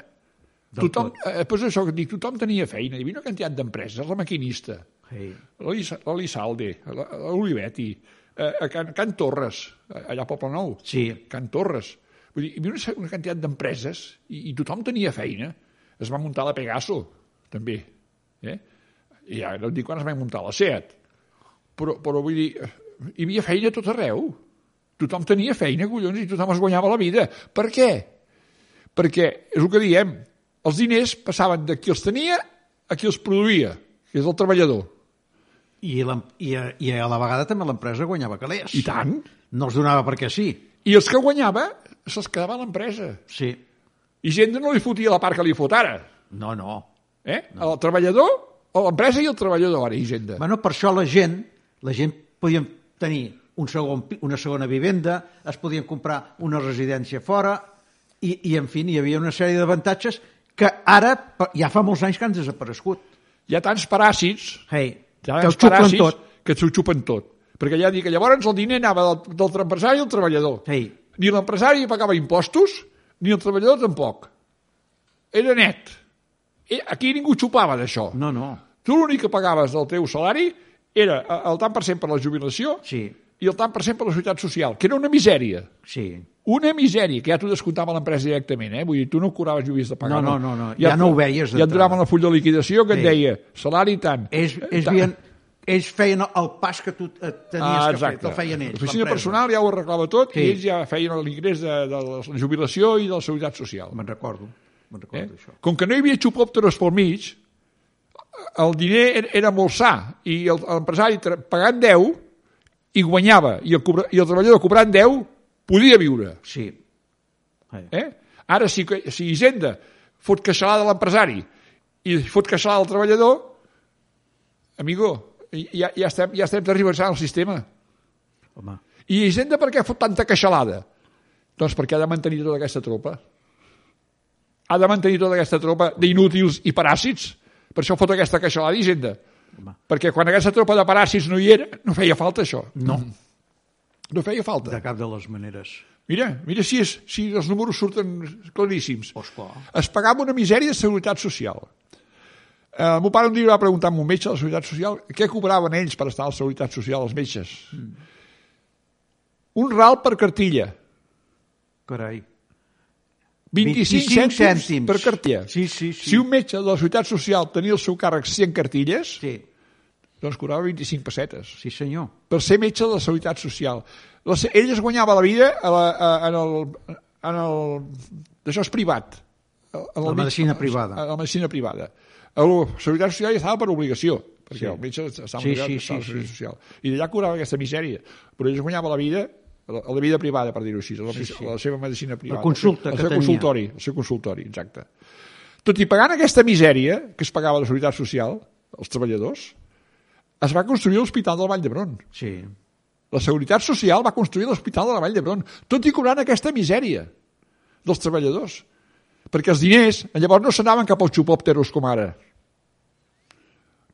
[SPEAKER 2] Tothom, eh, però és això que et dic, tothom tenia feina. Hi havia una quantitat d'empreses, la maquinista,
[SPEAKER 1] Hey.
[SPEAKER 2] l'Elisalde, l'Olivetti, eh, a Can, Can Torres, eh, allà a Poble Nou,
[SPEAKER 1] Sí.
[SPEAKER 2] Can Torres. Vull dir, hi havia una, una quantitat d'empreses i, i tothom tenia feina. Es va muntar la Pegaso, també. Eh? I ja no et dic quan es va muntar la Seat. Però, però vull dir, eh, hi havia feina a tot arreu. Tothom tenia feina, collons, i tothom es guanyava la vida. Per què? Perquè, és el que diem, els diners passaven de qui els tenia a qui els produïa, que és el treballador.
[SPEAKER 1] I, l'em- i, a, I a la vegada també l'empresa guanyava calés.
[SPEAKER 2] I tant.
[SPEAKER 1] No els donava perquè sí.
[SPEAKER 2] I els que guanyava se'ls quedava a l'empresa.
[SPEAKER 1] Sí.
[SPEAKER 2] I gent no li fotia la part que li fot ara.
[SPEAKER 1] No, no.
[SPEAKER 2] Eh? No. El treballador, o l'empresa i el treballador ara, Hisenda.
[SPEAKER 1] Bueno, per això la gent, la gent podien tenir un segon, pi- una segona vivenda, es podien comprar una residència fora, i, i en fi, hi havia una sèrie d'avantatges que ara, per- ja fa molts anys que han desaparegut.
[SPEAKER 2] Hi ha tants paràsits,
[SPEAKER 1] Hey,
[SPEAKER 2] hi
[SPEAKER 1] que
[SPEAKER 2] ha tants
[SPEAKER 1] el xuclen
[SPEAKER 2] paràsits
[SPEAKER 1] tot.
[SPEAKER 2] que s'ho xupen tot. Perquè ja dic que llavors el diner anava del, del empresari al treballador.
[SPEAKER 1] Hey,
[SPEAKER 2] Ni l'empresari pagava impostos, ni el treballador tampoc. Era net. Eh, Aquí ningú xupava d'això.
[SPEAKER 1] no, no,
[SPEAKER 2] Tu l'únic que pagaves del teu salari era eh, el tant per cent per la jubilació
[SPEAKER 1] sí,
[SPEAKER 2] i el tant per cent per la societat social, que era una misèria.
[SPEAKER 1] sí.
[SPEAKER 2] Una misèria, que ja t'ho descomptava l'empresa directament, eh? Vull dir, tu no curaves jubilis de pagar.
[SPEAKER 1] No, no, no, no. Ja no ho veies
[SPEAKER 2] Ja et
[SPEAKER 1] d'entrada.
[SPEAKER 2] donaven el full de liquidació que
[SPEAKER 1] Sí.
[SPEAKER 2] et deia salari tant.
[SPEAKER 1] Ells,
[SPEAKER 2] eh,
[SPEAKER 1] ells,
[SPEAKER 2] tant.
[SPEAKER 1] havien, ells feien el pas que tu eh, tenies
[SPEAKER 2] Ah,
[SPEAKER 1] que fer,
[SPEAKER 2] exacte.
[SPEAKER 1] te'l feien ells.
[SPEAKER 2] L'oficina
[SPEAKER 1] l'empresa.
[SPEAKER 2] personal ja ho arreglava tot
[SPEAKER 1] Sí.
[SPEAKER 2] i ells ja feien l'ingrés de, de la jubilació i de la seguretat social. eh?
[SPEAKER 1] Me'n recordo, me'n recordo, eh? això.
[SPEAKER 2] Com que no hi havia xupòpteros pel mig, el diner era, era molt sa i el- l'empresari tra- pagant 10 i guanyava, i el, cobra, i el treballador cobrant 10 podia viure.
[SPEAKER 1] Sí. Eh.
[SPEAKER 2] Eh? Ara, si, si Hisenda fot queixalada a l'empresari i fot queixalada al treballador, amigo, ja, ja, estem, ja estem tergiversant el sistema.
[SPEAKER 1] Home,
[SPEAKER 2] I Hisenda per què fot tanta queixalada? Doncs perquè ha de mantenir tota aquesta tropa. Ha de mantenir tota aquesta tropa d'inútils i paràsits. Per això fot aquesta queixalada Hisenda.
[SPEAKER 1] Home.
[SPEAKER 2] Perquè quan aquesta tropa de paràsits no hi era, no feia falta això.
[SPEAKER 1] no,
[SPEAKER 2] No feia falta.
[SPEAKER 1] de cap de les maneres.
[SPEAKER 2] Mira, mira si, és, si els números surten claríssims.
[SPEAKER 1] Oh, esclar.
[SPEAKER 2] Es pagava una misèria de seguretat social. Eh, el meu pare un dia va preguntar a un metge de la Seguretat Social què cobraven ells per estar a la Seguretat Social, els metges. Mm. Un ral per cartilla.
[SPEAKER 1] Carai.
[SPEAKER 2] 25,
[SPEAKER 1] 25
[SPEAKER 2] cèntims,
[SPEAKER 1] cèntims.
[SPEAKER 2] per cartilla.
[SPEAKER 1] Sí, sí, sí.
[SPEAKER 2] Si un metge de la Societat Social tenia al seu càrrec 100 cartilles, sí.
[SPEAKER 1] Sí,
[SPEAKER 2] doncs cobrava 25 pessetes.
[SPEAKER 1] sí senyor.
[SPEAKER 2] Per ser metge de la Seguretat Social. La, se- ell es guanyava la vida a la, a, en el... En el això és privat. A, a
[SPEAKER 1] La medicina privada.
[SPEAKER 2] A, la medicina privada. A la Seguretat Social hi estava per obligació, perquè
[SPEAKER 1] Sí.
[SPEAKER 2] sí. el metge estava
[SPEAKER 1] Sí,
[SPEAKER 2] obligat
[SPEAKER 1] sí,
[SPEAKER 2] a estar a la
[SPEAKER 1] sí,
[SPEAKER 2] Seguretat Social. I d'allà cobrava aquesta misèria. Però ell es guanyava la vida la, la vida privada, per dir-ho així, la, sí, sí. la seva medicina privada.
[SPEAKER 1] consulta
[SPEAKER 2] el,
[SPEAKER 1] que
[SPEAKER 2] seu
[SPEAKER 1] tenia.
[SPEAKER 2] consultori, el seu consultori, exacte. Tot i pagant aquesta misèria que es pagava a la Seguretat Social, els treballadors, es va construir l'Hospital del Vall d'Hebron.
[SPEAKER 1] Sí.
[SPEAKER 2] La Seguretat Social va construir l'Hospital de la Vall d'Hebron, tot i cobrant aquesta misèria dels treballadors. Perquè els diners llavors no s'anaven cap als xupòpteros com ara.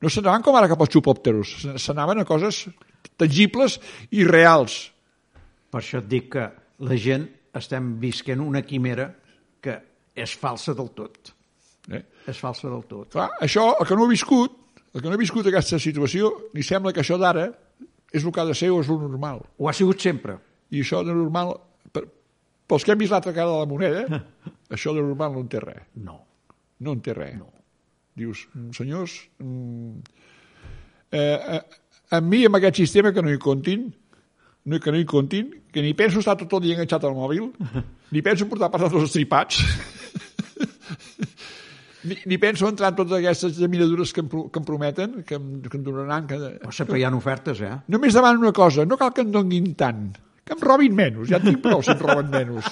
[SPEAKER 2] No s'anaven com ara cap als xupòpteros, se- s'anaven a coses tangibles i reals.
[SPEAKER 1] Per això et dic que la gent estem visquent una quimera que és falsa del tot.
[SPEAKER 2] Eh?
[SPEAKER 1] És falsa del tot.
[SPEAKER 2] Clar, això, el que no ha viscut, el que no ha viscut aquesta situació, li sembla que això d'ara és el que ha de ser o és el normal.
[SPEAKER 1] Ho ha sigut sempre.
[SPEAKER 2] I això de normal, per, pels que hem vist l'altra cara de la moneda, això de normal no en té res.
[SPEAKER 1] No.
[SPEAKER 2] no en té res. No. Dius, "Mm, senyors, mm, eh, eh, amb mi, amb aquest sistema, que no hi comptin, no, que no hi comptin, que ni penso estar tot el dia enganxat al mòbil, ni penso portar pas els estripats, *laughs* ni, ni penso entrar en totes aquestes llaminadures que em, pro- que em prometen, que em, que em donaran... Que...
[SPEAKER 1] Però sempre hi ha ofertes, eh?
[SPEAKER 2] Només demano una cosa, no cal que em donguin tant, que em robin menys, ja en tinc prou si em roben menys.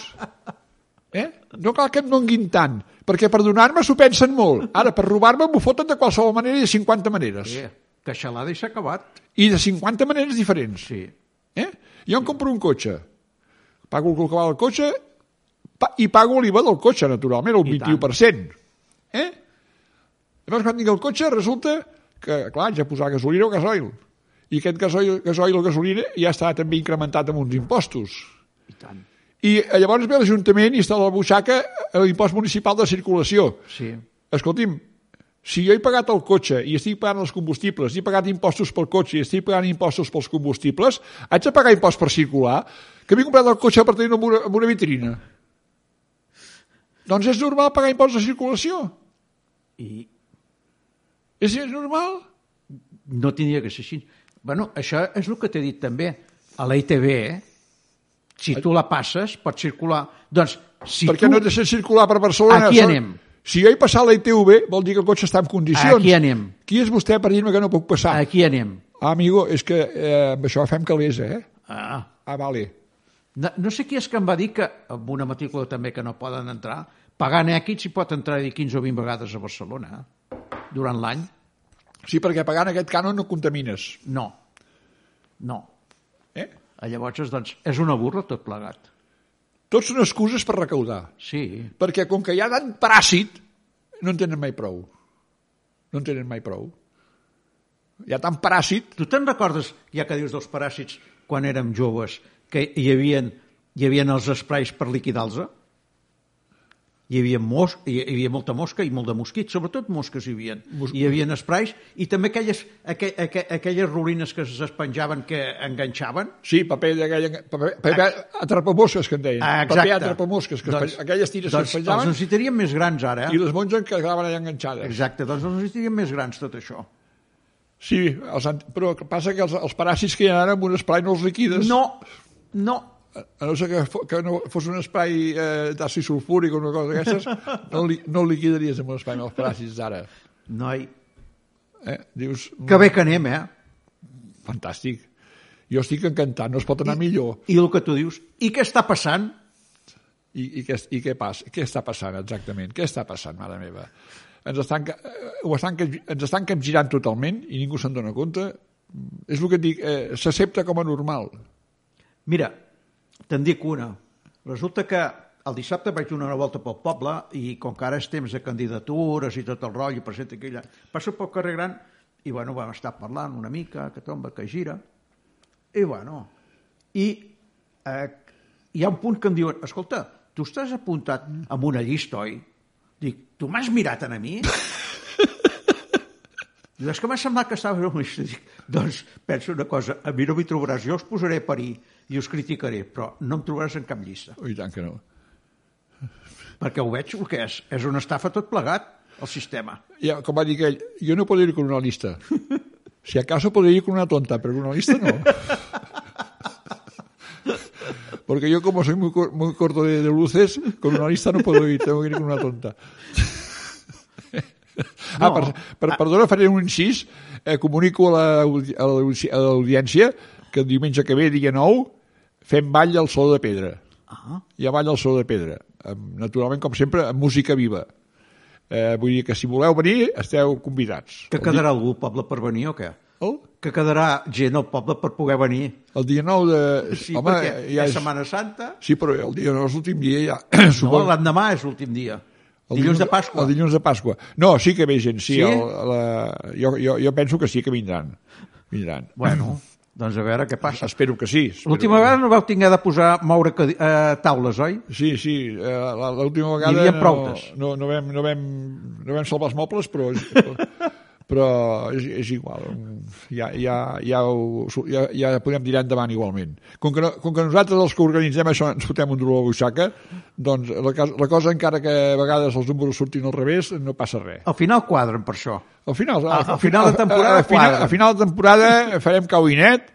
[SPEAKER 2] Eh? No cal que em donguin tant, perquè per donar-me s'ho pensen molt. Ara, per robar-me m'ho foten de qualsevol manera i de 50 maneres.
[SPEAKER 1] Sí. Queixalada i s'ha acabat.
[SPEAKER 2] I de 50 maneres diferents.
[SPEAKER 1] Sí.
[SPEAKER 2] Eh? Jo em compro un cotxe, pago el que val el cotxe pa i pago l'IVA del cotxe, naturalment, el
[SPEAKER 1] I tant.
[SPEAKER 2] 21%. Eh? Llavors, quan tinc el cotxe, resulta que, clar, haig de posar gasolina o gasoil. I aquest gasoil, gasoil o gasolina ja està també incrementat amb uns impostos.
[SPEAKER 1] I tant.
[SPEAKER 2] I eh, llavors ve l'Ajuntament i està a la butxaca l'impost municipal de circulació.
[SPEAKER 1] Sí.
[SPEAKER 2] Escolti'm, si jo he pagat el cotxe i estic pagant els combustibles, i he pagat impostos pel cotxe i estic pagant impostos pels combustibles, haig de pagar impost per circular? Que m'he comprat el cotxe per tenir-lo en, una- en una vitrina. Doncs és normal pagar impost de circulació.
[SPEAKER 1] I
[SPEAKER 2] És, és normal.
[SPEAKER 1] no tindria que ser així. Bueno, això és el que t'he dit també. A la ITV, eh? si tu la passes, pots circular. Doncs, si
[SPEAKER 2] per què
[SPEAKER 1] tu...
[SPEAKER 2] no et deixen circular per Barcelona?
[SPEAKER 1] Aquí
[SPEAKER 2] Són-
[SPEAKER 1] anem.
[SPEAKER 2] Si jo he passat la ITV, vol dir que el cotxe està en condicions.
[SPEAKER 1] Aquí anem.
[SPEAKER 2] Qui és vostè per dir-me que no puc passar?
[SPEAKER 1] Aquí anem.
[SPEAKER 2] Ah, amigo, és que eh, amb això fem calés, eh?
[SPEAKER 1] Ah.
[SPEAKER 2] Ah, vale.
[SPEAKER 1] No, no sé qui és que em va dir que amb una matrícula també que no poden entrar, pagant èquits hi pot entrar dir, 15 o 20 vegades a Barcelona eh? durant l'any.
[SPEAKER 2] Sí, perquè pagant aquest cànon no contamines.
[SPEAKER 1] No. No.
[SPEAKER 2] Eh?
[SPEAKER 1] Eh, Llavors, doncs, és una burla tot plegat.
[SPEAKER 2] Tots són excuses per recaudar.
[SPEAKER 1] Sí.
[SPEAKER 2] Perquè com que hi ha tant paràsit, no en tenen mai prou. No en tenen mai prou. Hi ha tant paràsit...
[SPEAKER 1] Tu te'n recordes, ja que dius dels paràsits, quan érem joves, que hi havia, hi havia els esprais per liquidar-los? Hi havia, mos, hi hi havia molta mosca i molt de mosquits, sobretot mosques hi havia.
[SPEAKER 2] Mos-
[SPEAKER 1] Hi havia esprais i també aquelles, aqu aqu aquelles rolines que s'espenjaven, que enganxaven.
[SPEAKER 2] Sí, paper d'aquell... Paper, paper atrapamosques, que en deien.
[SPEAKER 1] Ah,
[SPEAKER 2] Paper
[SPEAKER 1] exacte.
[SPEAKER 2] atrapamosques, que doncs, aquelles tires
[SPEAKER 1] doncs
[SPEAKER 2] que
[SPEAKER 1] Els
[SPEAKER 2] es penjaven
[SPEAKER 1] necessitaríem més grans ara,
[SPEAKER 2] i
[SPEAKER 1] eh?
[SPEAKER 2] les monges que quedaven allà enganxades.
[SPEAKER 1] Exacte, doncs els necessitaríem més grans tot això.
[SPEAKER 2] Sí, els, ant- però que passa que els, els paràsits que hi ha ara amb un espai no els liquides.
[SPEAKER 1] No, no,
[SPEAKER 2] A no ser que, fo, que no fos un espai eh, d'àcid sulfúric o una cosa
[SPEAKER 1] *laughs*
[SPEAKER 2] d'aquestes, no, li, no el liquidaries amb un espai amb els paràsits d'ara.
[SPEAKER 1] noi.
[SPEAKER 2] Eh? Dius,
[SPEAKER 1] Que bé que anem, eh?
[SPEAKER 2] fantàstic. Jo estic encantat, no es pot anar millor.
[SPEAKER 1] I el que tu dius, i què està passant?
[SPEAKER 2] I, i, què, i què, passa? què està passant exactament? Què està passant, mare meva? Ens estan, ca- eh, ho estan, ca- ens estan capgirant totalment i ningú se'n dona compte. Mm, És el que et dic, eh, s'accepta com a normal.
[SPEAKER 1] Mira, te'n dic una. Resulta que el dissabte vaig donar una volta pel poble i com que ara és temps de candidatures i tot el rotllo, per cert, aquella... Passo pel carrer Gran i, bueno, vam estar parlant una mica, que tomba, que gira, i, bueno, i eh, hi ha un punt que em diuen, escolta, tu estàs apuntat amb una llista, oi? Dic, tu m'has mirat en a mi? Diu, és que m'ha semblat que estava una llista. *laughs* Dic, doncs, penso una cosa, a mi no m'hi trobaràs, jo us posaré a parir i us criticaré, però no em trobaràs en cap llista.
[SPEAKER 2] Oh, I tant que no.
[SPEAKER 1] Perquè ho veig el que és. És una estafa tot plegat, el sistema.
[SPEAKER 2] Ja, com va dir aquell, jo no podré ir con una
[SPEAKER 1] *laughs*
[SPEAKER 2] lista. Si acaso podré ir con una tonta, pero una lista no.
[SPEAKER 1] *laughs*
[SPEAKER 2] Porque yo como soy muy, cor- muy corto de, de luces, con una lista no puedo ir, tengo que ir con
[SPEAKER 1] *laughs*
[SPEAKER 2] una tonta. Ah,
[SPEAKER 1] No.
[SPEAKER 2] per, per, perdona, faré un incís. Eh, comunico a la audi- a l'audi- a l'audiència que el diumenge que ve, dia 9, fem ball al Saló de Pedra.
[SPEAKER 1] Ah,
[SPEAKER 2] Hi ha ball al Saló de Pedra. Amb, naturalment, com sempre, amb música viva. Eh, vull dir que si voleu venir, esteu convidats.
[SPEAKER 1] que quedarà algú al poble per venir o què?
[SPEAKER 2] El,
[SPEAKER 1] Que quedarà gent al poble per poder venir.
[SPEAKER 2] el dia 9 de...
[SPEAKER 1] Sí, Home, perquè ja és Setmana Santa,
[SPEAKER 2] Sí, però el dia 9 és l'últim dia ja.
[SPEAKER 1] no,
[SPEAKER 2] *coughs* Suposo-
[SPEAKER 1] l'endemà és l'últim dia.
[SPEAKER 2] El
[SPEAKER 1] dilluns de Pasqua.
[SPEAKER 2] El dilluns de Pasqua. No, sí que ve gent, sí.
[SPEAKER 1] Sí?
[SPEAKER 2] El, la, jo, jo, jo penso que sí que vindran. Vindran.
[SPEAKER 1] *clears throat* Bueno, doncs a veure què passa.
[SPEAKER 2] *coughs* Espero que sí. espero
[SPEAKER 1] L'última
[SPEAKER 2] que...
[SPEAKER 1] vegada no vau tinguer de posar, moure cadi- eh, taules, oi?
[SPEAKER 2] Sí, sí, eh, la- l'última vegada...
[SPEAKER 1] havia
[SPEAKER 2] no,
[SPEAKER 1] proutes.
[SPEAKER 2] No, no, vam, no, vam, no vam salvar els mobles, però... És, però és, és igual. Ja, ja, ja, ho, ja, ja podem tirar endavant igualment. Com que, no, com que nosaltres els que organitzem això ens fotem un dolor a la butxaca, doncs la, cas- la cosa, encara que a vegades els números surtin al revés, no passa res.
[SPEAKER 1] Al final quadren per això.
[SPEAKER 2] Al final,
[SPEAKER 1] Ah, al final de temporada
[SPEAKER 2] a, a, final,
[SPEAKER 1] quadra.
[SPEAKER 2] a final de temporada farem cauinet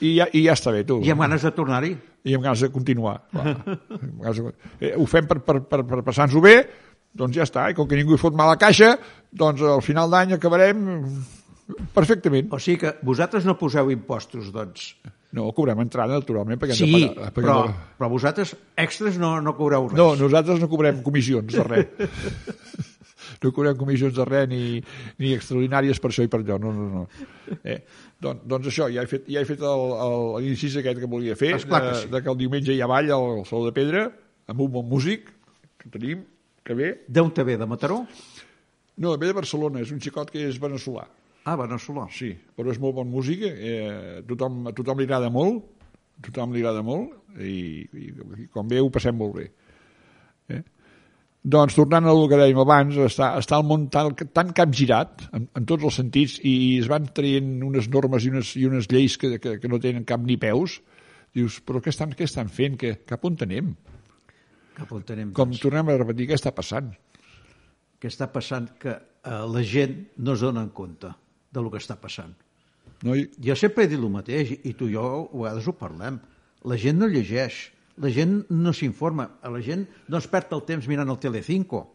[SPEAKER 2] i ja, i ja està bé, tu.
[SPEAKER 1] I amb ganes de tornar-hi.
[SPEAKER 2] I amb ganes de continuar. clar. Amb ganes de... Eh, ho fem per, per, per, per passar-nos-ho bé, doncs ja està. I com que ningú hi fot mala caixa, doncs al final d'any acabarem mm, perfectament.
[SPEAKER 1] O sigui que vosaltres no poseu impostos, doncs.
[SPEAKER 2] No, cobrem entrada, naturalment, perquè
[SPEAKER 1] Sí, Ah,
[SPEAKER 2] hem de pagar. eh, perquè
[SPEAKER 1] però,
[SPEAKER 2] hem de-
[SPEAKER 1] però vosaltres extras no, no cobreu res.
[SPEAKER 2] No, nosaltres no cobrem comissions de res. No cobrem comissions de res ni, ni extraordinàries per això i per allò, no, no, no. Eh, doncs, doncs això, ja he fet, ja he fet el- el- l'incís aquest que volia fer,
[SPEAKER 1] Esclar que
[SPEAKER 2] de,
[SPEAKER 1] sí.
[SPEAKER 2] de que el diumenge hi ha ball al Saló de Pedra, amb un bon músic que tenim, que ve,
[SPEAKER 1] D'on te ve, de Mataró?
[SPEAKER 2] No, ve de Barcelona, és un xicot que és veneçolà.
[SPEAKER 1] Ah, Veneçolà.
[SPEAKER 2] Sí, però és molt bon músic, eh, tothom, a tothom li agrada molt, a tothom li agrada molt, i, i, i quan ve ho passem molt bé. Eh? Doncs, tornant al que dèiem abans, està, està el món tan, tan capgirat, en, en tots els sentits, i es van traient unes normes i unes, i unes lleis que, que, que no tenen cap ni peus, dius, però què estan, què estan fent? Que, cap on anem?
[SPEAKER 1] Cap on tenim
[SPEAKER 2] Com tornem a repetir, què està passant?
[SPEAKER 1] que està passant que eh, la gent no es dona en compte de lo que està passant.
[SPEAKER 2] No? I,
[SPEAKER 1] Jo sempre he dit el mateix, i tu i jo a vegades ho parlem. La gent no llegeix, la gent no s'informa, a la gent no es perd el temps mirant el Telecinco.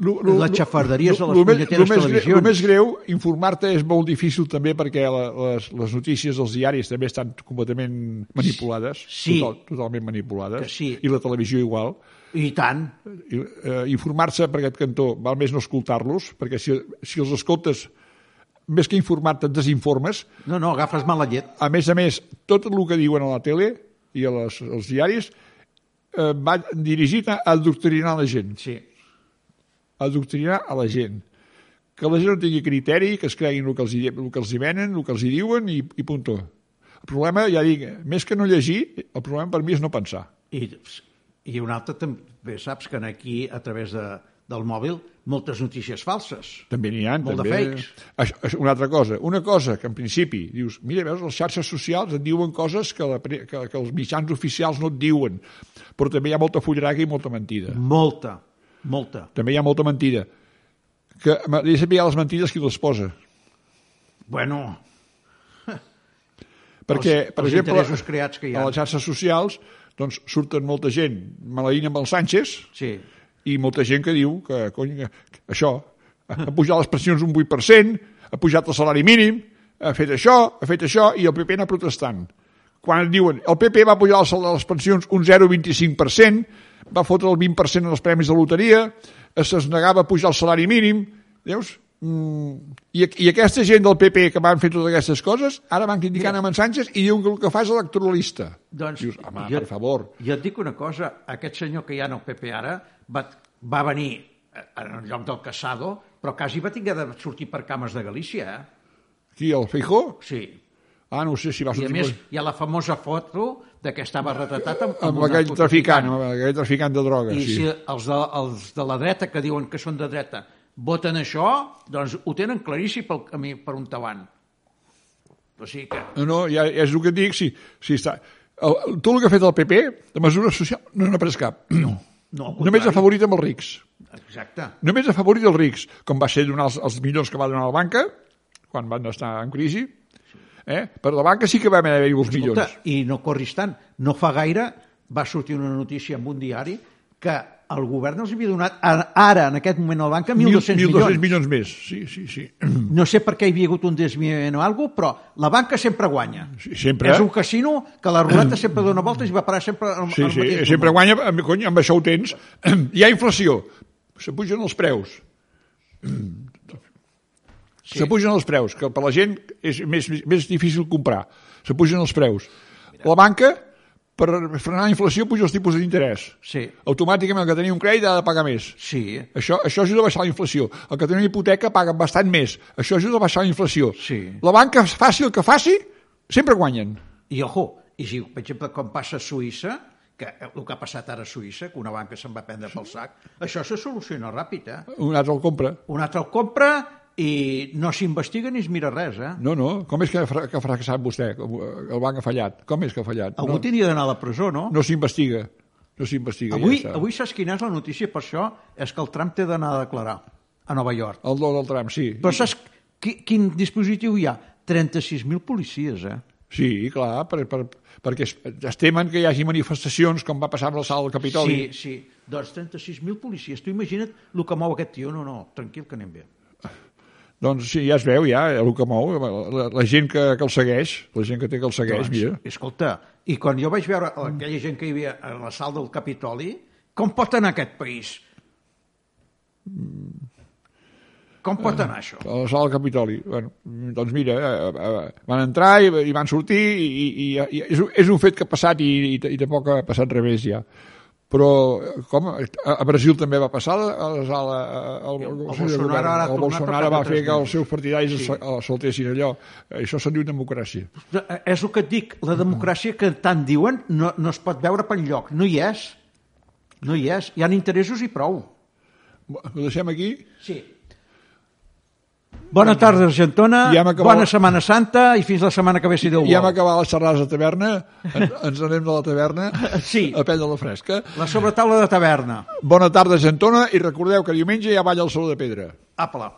[SPEAKER 2] Lo- lo-
[SPEAKER 1] Les xafarderies
[SPEAKER 2] lo-
[SPEAKER 1] a les
[SPEAKER 2] lo més-
[SPEAKER 1] punyeteres
[SPEAKER 2] lo més greu-
[SPEAKER 1] televisions.
[SPEAKER 2] El més greu, informar-te és molt difícil també perquè la, les, les notícies dels diaris també estan completament manipulades,
[SPEAKER 1] Sí.
[SPEAKER 2] total, totalment
[SPEAKER 1] Que
[SPEAKER 2] manipulades,
[SPEAKER 1] sí.
[SPEAKER 2] i la televisió igual.
[SPEAKER 1] I tant,
[SPEAKER 2] I, Eh, Informar-se per aquest cantó, val més no escoltar-los, perquè si, si els escoltes, més que informar-te, et desinformes.
[SPEAKER 1] no, no, agafes mala llet.
[SPEAKER 2] A més a més, tot el que diuen a la tele i a les, als diaris eh, va dirigit a adoctrinar la gent
[SPEAKER 1] Sí.
[SPEAKER 2] adoctrinar a la gent. Que la gent no tingui criteri, que es creguin el que els hi, el que els hi venen, el que els hi diuen i, i punto. El problema, ja dic, més que no llegir, el problema per mi és no pensar.
[SPEAKER 1] I, i un altre també saps que en aquí, a través de, del mòbil, moltes notícies falses.
[SPEAKER 2] També n'hi ha,
[SPEAKER 1] Molt de
[SPEAKER 2] també.
[SPEAKER 1] fakes.
[SPEAKER 2] Això, això, una altra cosa, una cosa que en principi dius, mira, veus, les xarxes socials et diuen coses que, la, pre- que, que els mitjans oficials no et diuen, però també hi ha molta fullaraca i molta mentida.
[SPEAKER 1] Mm. Molta, molta.
[SPEAKER 2] També hi ha molta mentida. Que m'agradaria saber les mentides qui les posa.
[SPEAKER 1] Bueno,
[SPEAKER 2] Perquè,
[SPEAKER 1] Els-
[SPEAKER 2] per
[SPEAKER 1] els
[SPEAKER 2] exemple,
[SPEAKER 1] interessos creats que hi ha.
[SPEAKER 2] a les xarxes socials doncs, surten molta gent maleïna amb el Sánchez
[SPEAKER 1] sí,
[SPEAKER 2] i molta gent que diu que, cony, que això, ha pujat les pensions un 8%, ha pujat el salari mínim, ha fet això, ha fet això, i el PP anar protestant. Quan et diuen, el PP va pujar el sal- les pensions un 0,25%, va fotre el 20% en els premis de loteria, es negava a pujar el salari mínim, veus? Mm, i, aqu- I aquesta gent del PP que van fer totes aquestes coses, ara van criticant amb en Sánchez i diuen que el que fa és electoralista.
[SPEAKER 1] Doncs,
[SPEAKER 2] Dius, home, per favor.
[SPEAKER 1] Jo et dic una cosa, aquest senyor que hi ha en el PP ara va, va venir eh, en lloc del Casado, però quasi va tindre de sortir per cames de Galícia, eh?
[SPEAKER 2] Qui, el Feijó?
[SPEAKER 1] Sí.
[SPEAKER 2] Ah, no sé si va
[SPEAKER 1] I
[SPEAKER 2] sortir...
[SPEAKER 1] a més hi ha la famosa foto de que estava retratat amb,
[SPEAKER 2] amb,
[SPEAKER 1] un
[SPEAKER 2] aquell traficant,
[SPEAKER 1] narcotraficant.
[SPEAKER 2] amb aquell traficant de drogues.
[SPEAKER 1] I
[SPEAKER 2] Sí.
[SPEAKER 1] si els de, els de la dreta que diuen que són de dreta voten això, doncs ho tenen claríssim pel camí per on t'avant. O sigui que...
[SPEAKER 2] No, no, ja, ja és el que et dic, sí, sí està. El, el, tot el que ha fet el PP, de mesures socials, no n'ha pres cap. No.
[SPEAKER 1] No, al
[SPEAKER 2] Només
[SPEAKER 1] contrari.
[SPEAKER 2] ha favorit amb els rics.
[SPEAKER 1] Exacte.
[SPEAKER 2] Només ha favorit els rics, com va ser donar els, els milions que va donar la banca, quan van estar en crisi. Eh? Per la banca sí que vam haver-hi uns milions.
[SPEAKER 1] Escolta, I no corris tant. No fa gaire va sortir una notícia en un diari que el govern els havia donat a- ara, en aquest moment, al banca, 1.200
[SPEAKER 2] 1.200
[SPEAKER 1] milions.
[SPEAKER 2] milions més, sí, sí, sí.
[SPEAKER 1] No sé per què hi havia hagut un desviament o alguna cosa, però la banca sempre guanya.
[SPEAKER 2] Sí, sempre,
[SPEAKER 1] És
[SPEAKER 2] eh?
[SPEAKER 1] un casino que la ruleta sempre dona voltes i va parar sempre al,
[SPEAKER 2] Sí,
[SPEAKER 1] al
[SPEAKER 2] sí,
[SPEAKER 1] mateix
[SPEAKER 2] sempre
[SPEAKER 1] número.
[SPEAKER 2] guanya, amb- cony, amb això ho tens. *clears throat* Hi ha inflació, se pugen els preus.
[SPEAKER 1] Sí.
[SPEAKER 2] Sí. Se pugen els preus, que per la gent és més, més- més difícil comprar. Se pugen els preus. La banca, per frenar la inflació, puja els tipus d'interès.
[SPEAKER 1] Sí,
[SPEAKER 2] Automàticament el que tenia un crèdit ha de pagar més.
[SPEAKER 1] sí,
[SPEAKER 2] Això, això ajuda a baixar la inflació. El que té una hipoteca paga bastant més. Això ajuda a baixar la inflació.
[SPEAKER 1] Sí.
[SPEAKER 2] La banca, faci el que faci, sempre guanyen.
[SPEAKER 1] I ojo, i si, per exemple, com passa a Suïssa, que eh, el que ha passat ara a Suïssa, que una banca se'n va prendre pel sac, això se soluciona ràpid, eh?
[SPEAKER 2] Un altre el compra.
[SPEAKER 1] Un altre el compra i no s'investiga ni es mira res, eh?
[SPEAKER 2] No, no, com és que ha, fra que ha fracassat vostè? Com, eh, El banc ha fallat. Com és que ha fallat?
[SPEAKER 1] Algú
[SPEAKER 2] No,
[SPEAKER 1] no. tindria d'anar a la presó, no? no
[SPEAKER 2] no s'investiga. No s'investiga.
[SPEAKER 1] avui,
[SPEAKER 2] ja està.
[SPEAKER 1] avui saps quina és la notícia, per això és que el Trump té d'anar a declarar a Nova York.
[SPEAKER 2] El Donald Trump, sí.
[SPEAKER 1] Però saps qui, quin dispositiu hi ha? 36.000 policies, eh?
[SPEAKER 2] Sí, clar, per, per, perquè es, es temen que hi hagi manifestacions com va passar amb la sala del Capitoli.
[SPEAKER 1] Sí, sí. Doncs 36.000 policies. Tu imagina't el que mou aquest tio. No, no, tranquil, que anem bé.
[SPEAKER 2] Doncs sí, ja es veu, ja, el que mou, la, la, la gent que, que el segueix, la gent que té que el segueix, mira.
[SPEAKER 1] Doncs, Escolta, i quan jo vaig veure aquella gent que hi havia a la sala del Capitoli, com pot anar aquest país? Com pot anar això?
[SPEAKER 2] A la sala del Capitoli. Bueno, doncs mira, eh, eh, van entrar i, i van sortir i, i, i és, un- és un fet que ha passat i, i, i tampoc ha passat revés ja. Però, eh, com, a a Brasil també va passar a les ala... eh, El, el,
[SPEAKER 1] Bolsonaro ara ha
[SPEAKER 2] el
[SPEAKER 1] tornat
[SPEAKER 2] Bolsonaro
[SPEAKER 1] per
[SPEAKER 2] va
[SPEAKER 1] cada
[SPEAKER 2] fer
[SPEAKER 1] tres
[SPEAKER 2] que els
[SPEAKER 1] mesos.
[SPEAKER 2] seus partidaris sí. saltessin allò. Això se'n diu democràcia.
[SPEAKER 1] Eh, És el que et dic, la democràcia que tant diuen no, no es pot veure per lloc, no hi és. No hi és, hi han interessos i prou.
[SPEAKER 2] Ho deixem aquí?
[SPEAKER 1] Sí. Bona tarda, Argentona,
[SPEAKER 2] Ja hem acabat.
[SPEAKER 1] bona Setmana Santa i fins la setmana que ve, si Déu
[SPEAKER 2] I hem
[SPEAKER 1] vol.
[SPEAKER 2] acabat les xerrades de taverna, en, ens anem de la taverna
[SPEAKER 1] Sí.
[SPEAKER 2] a prendre la fresca.
[SPEAKER 1] La sobretaula de taverna.
[SPEAKER 2] Bona tarda, Gentona, i recordeu que diumenge ja balla el Saló de Pedra.
[SPEAKER 1] Apla.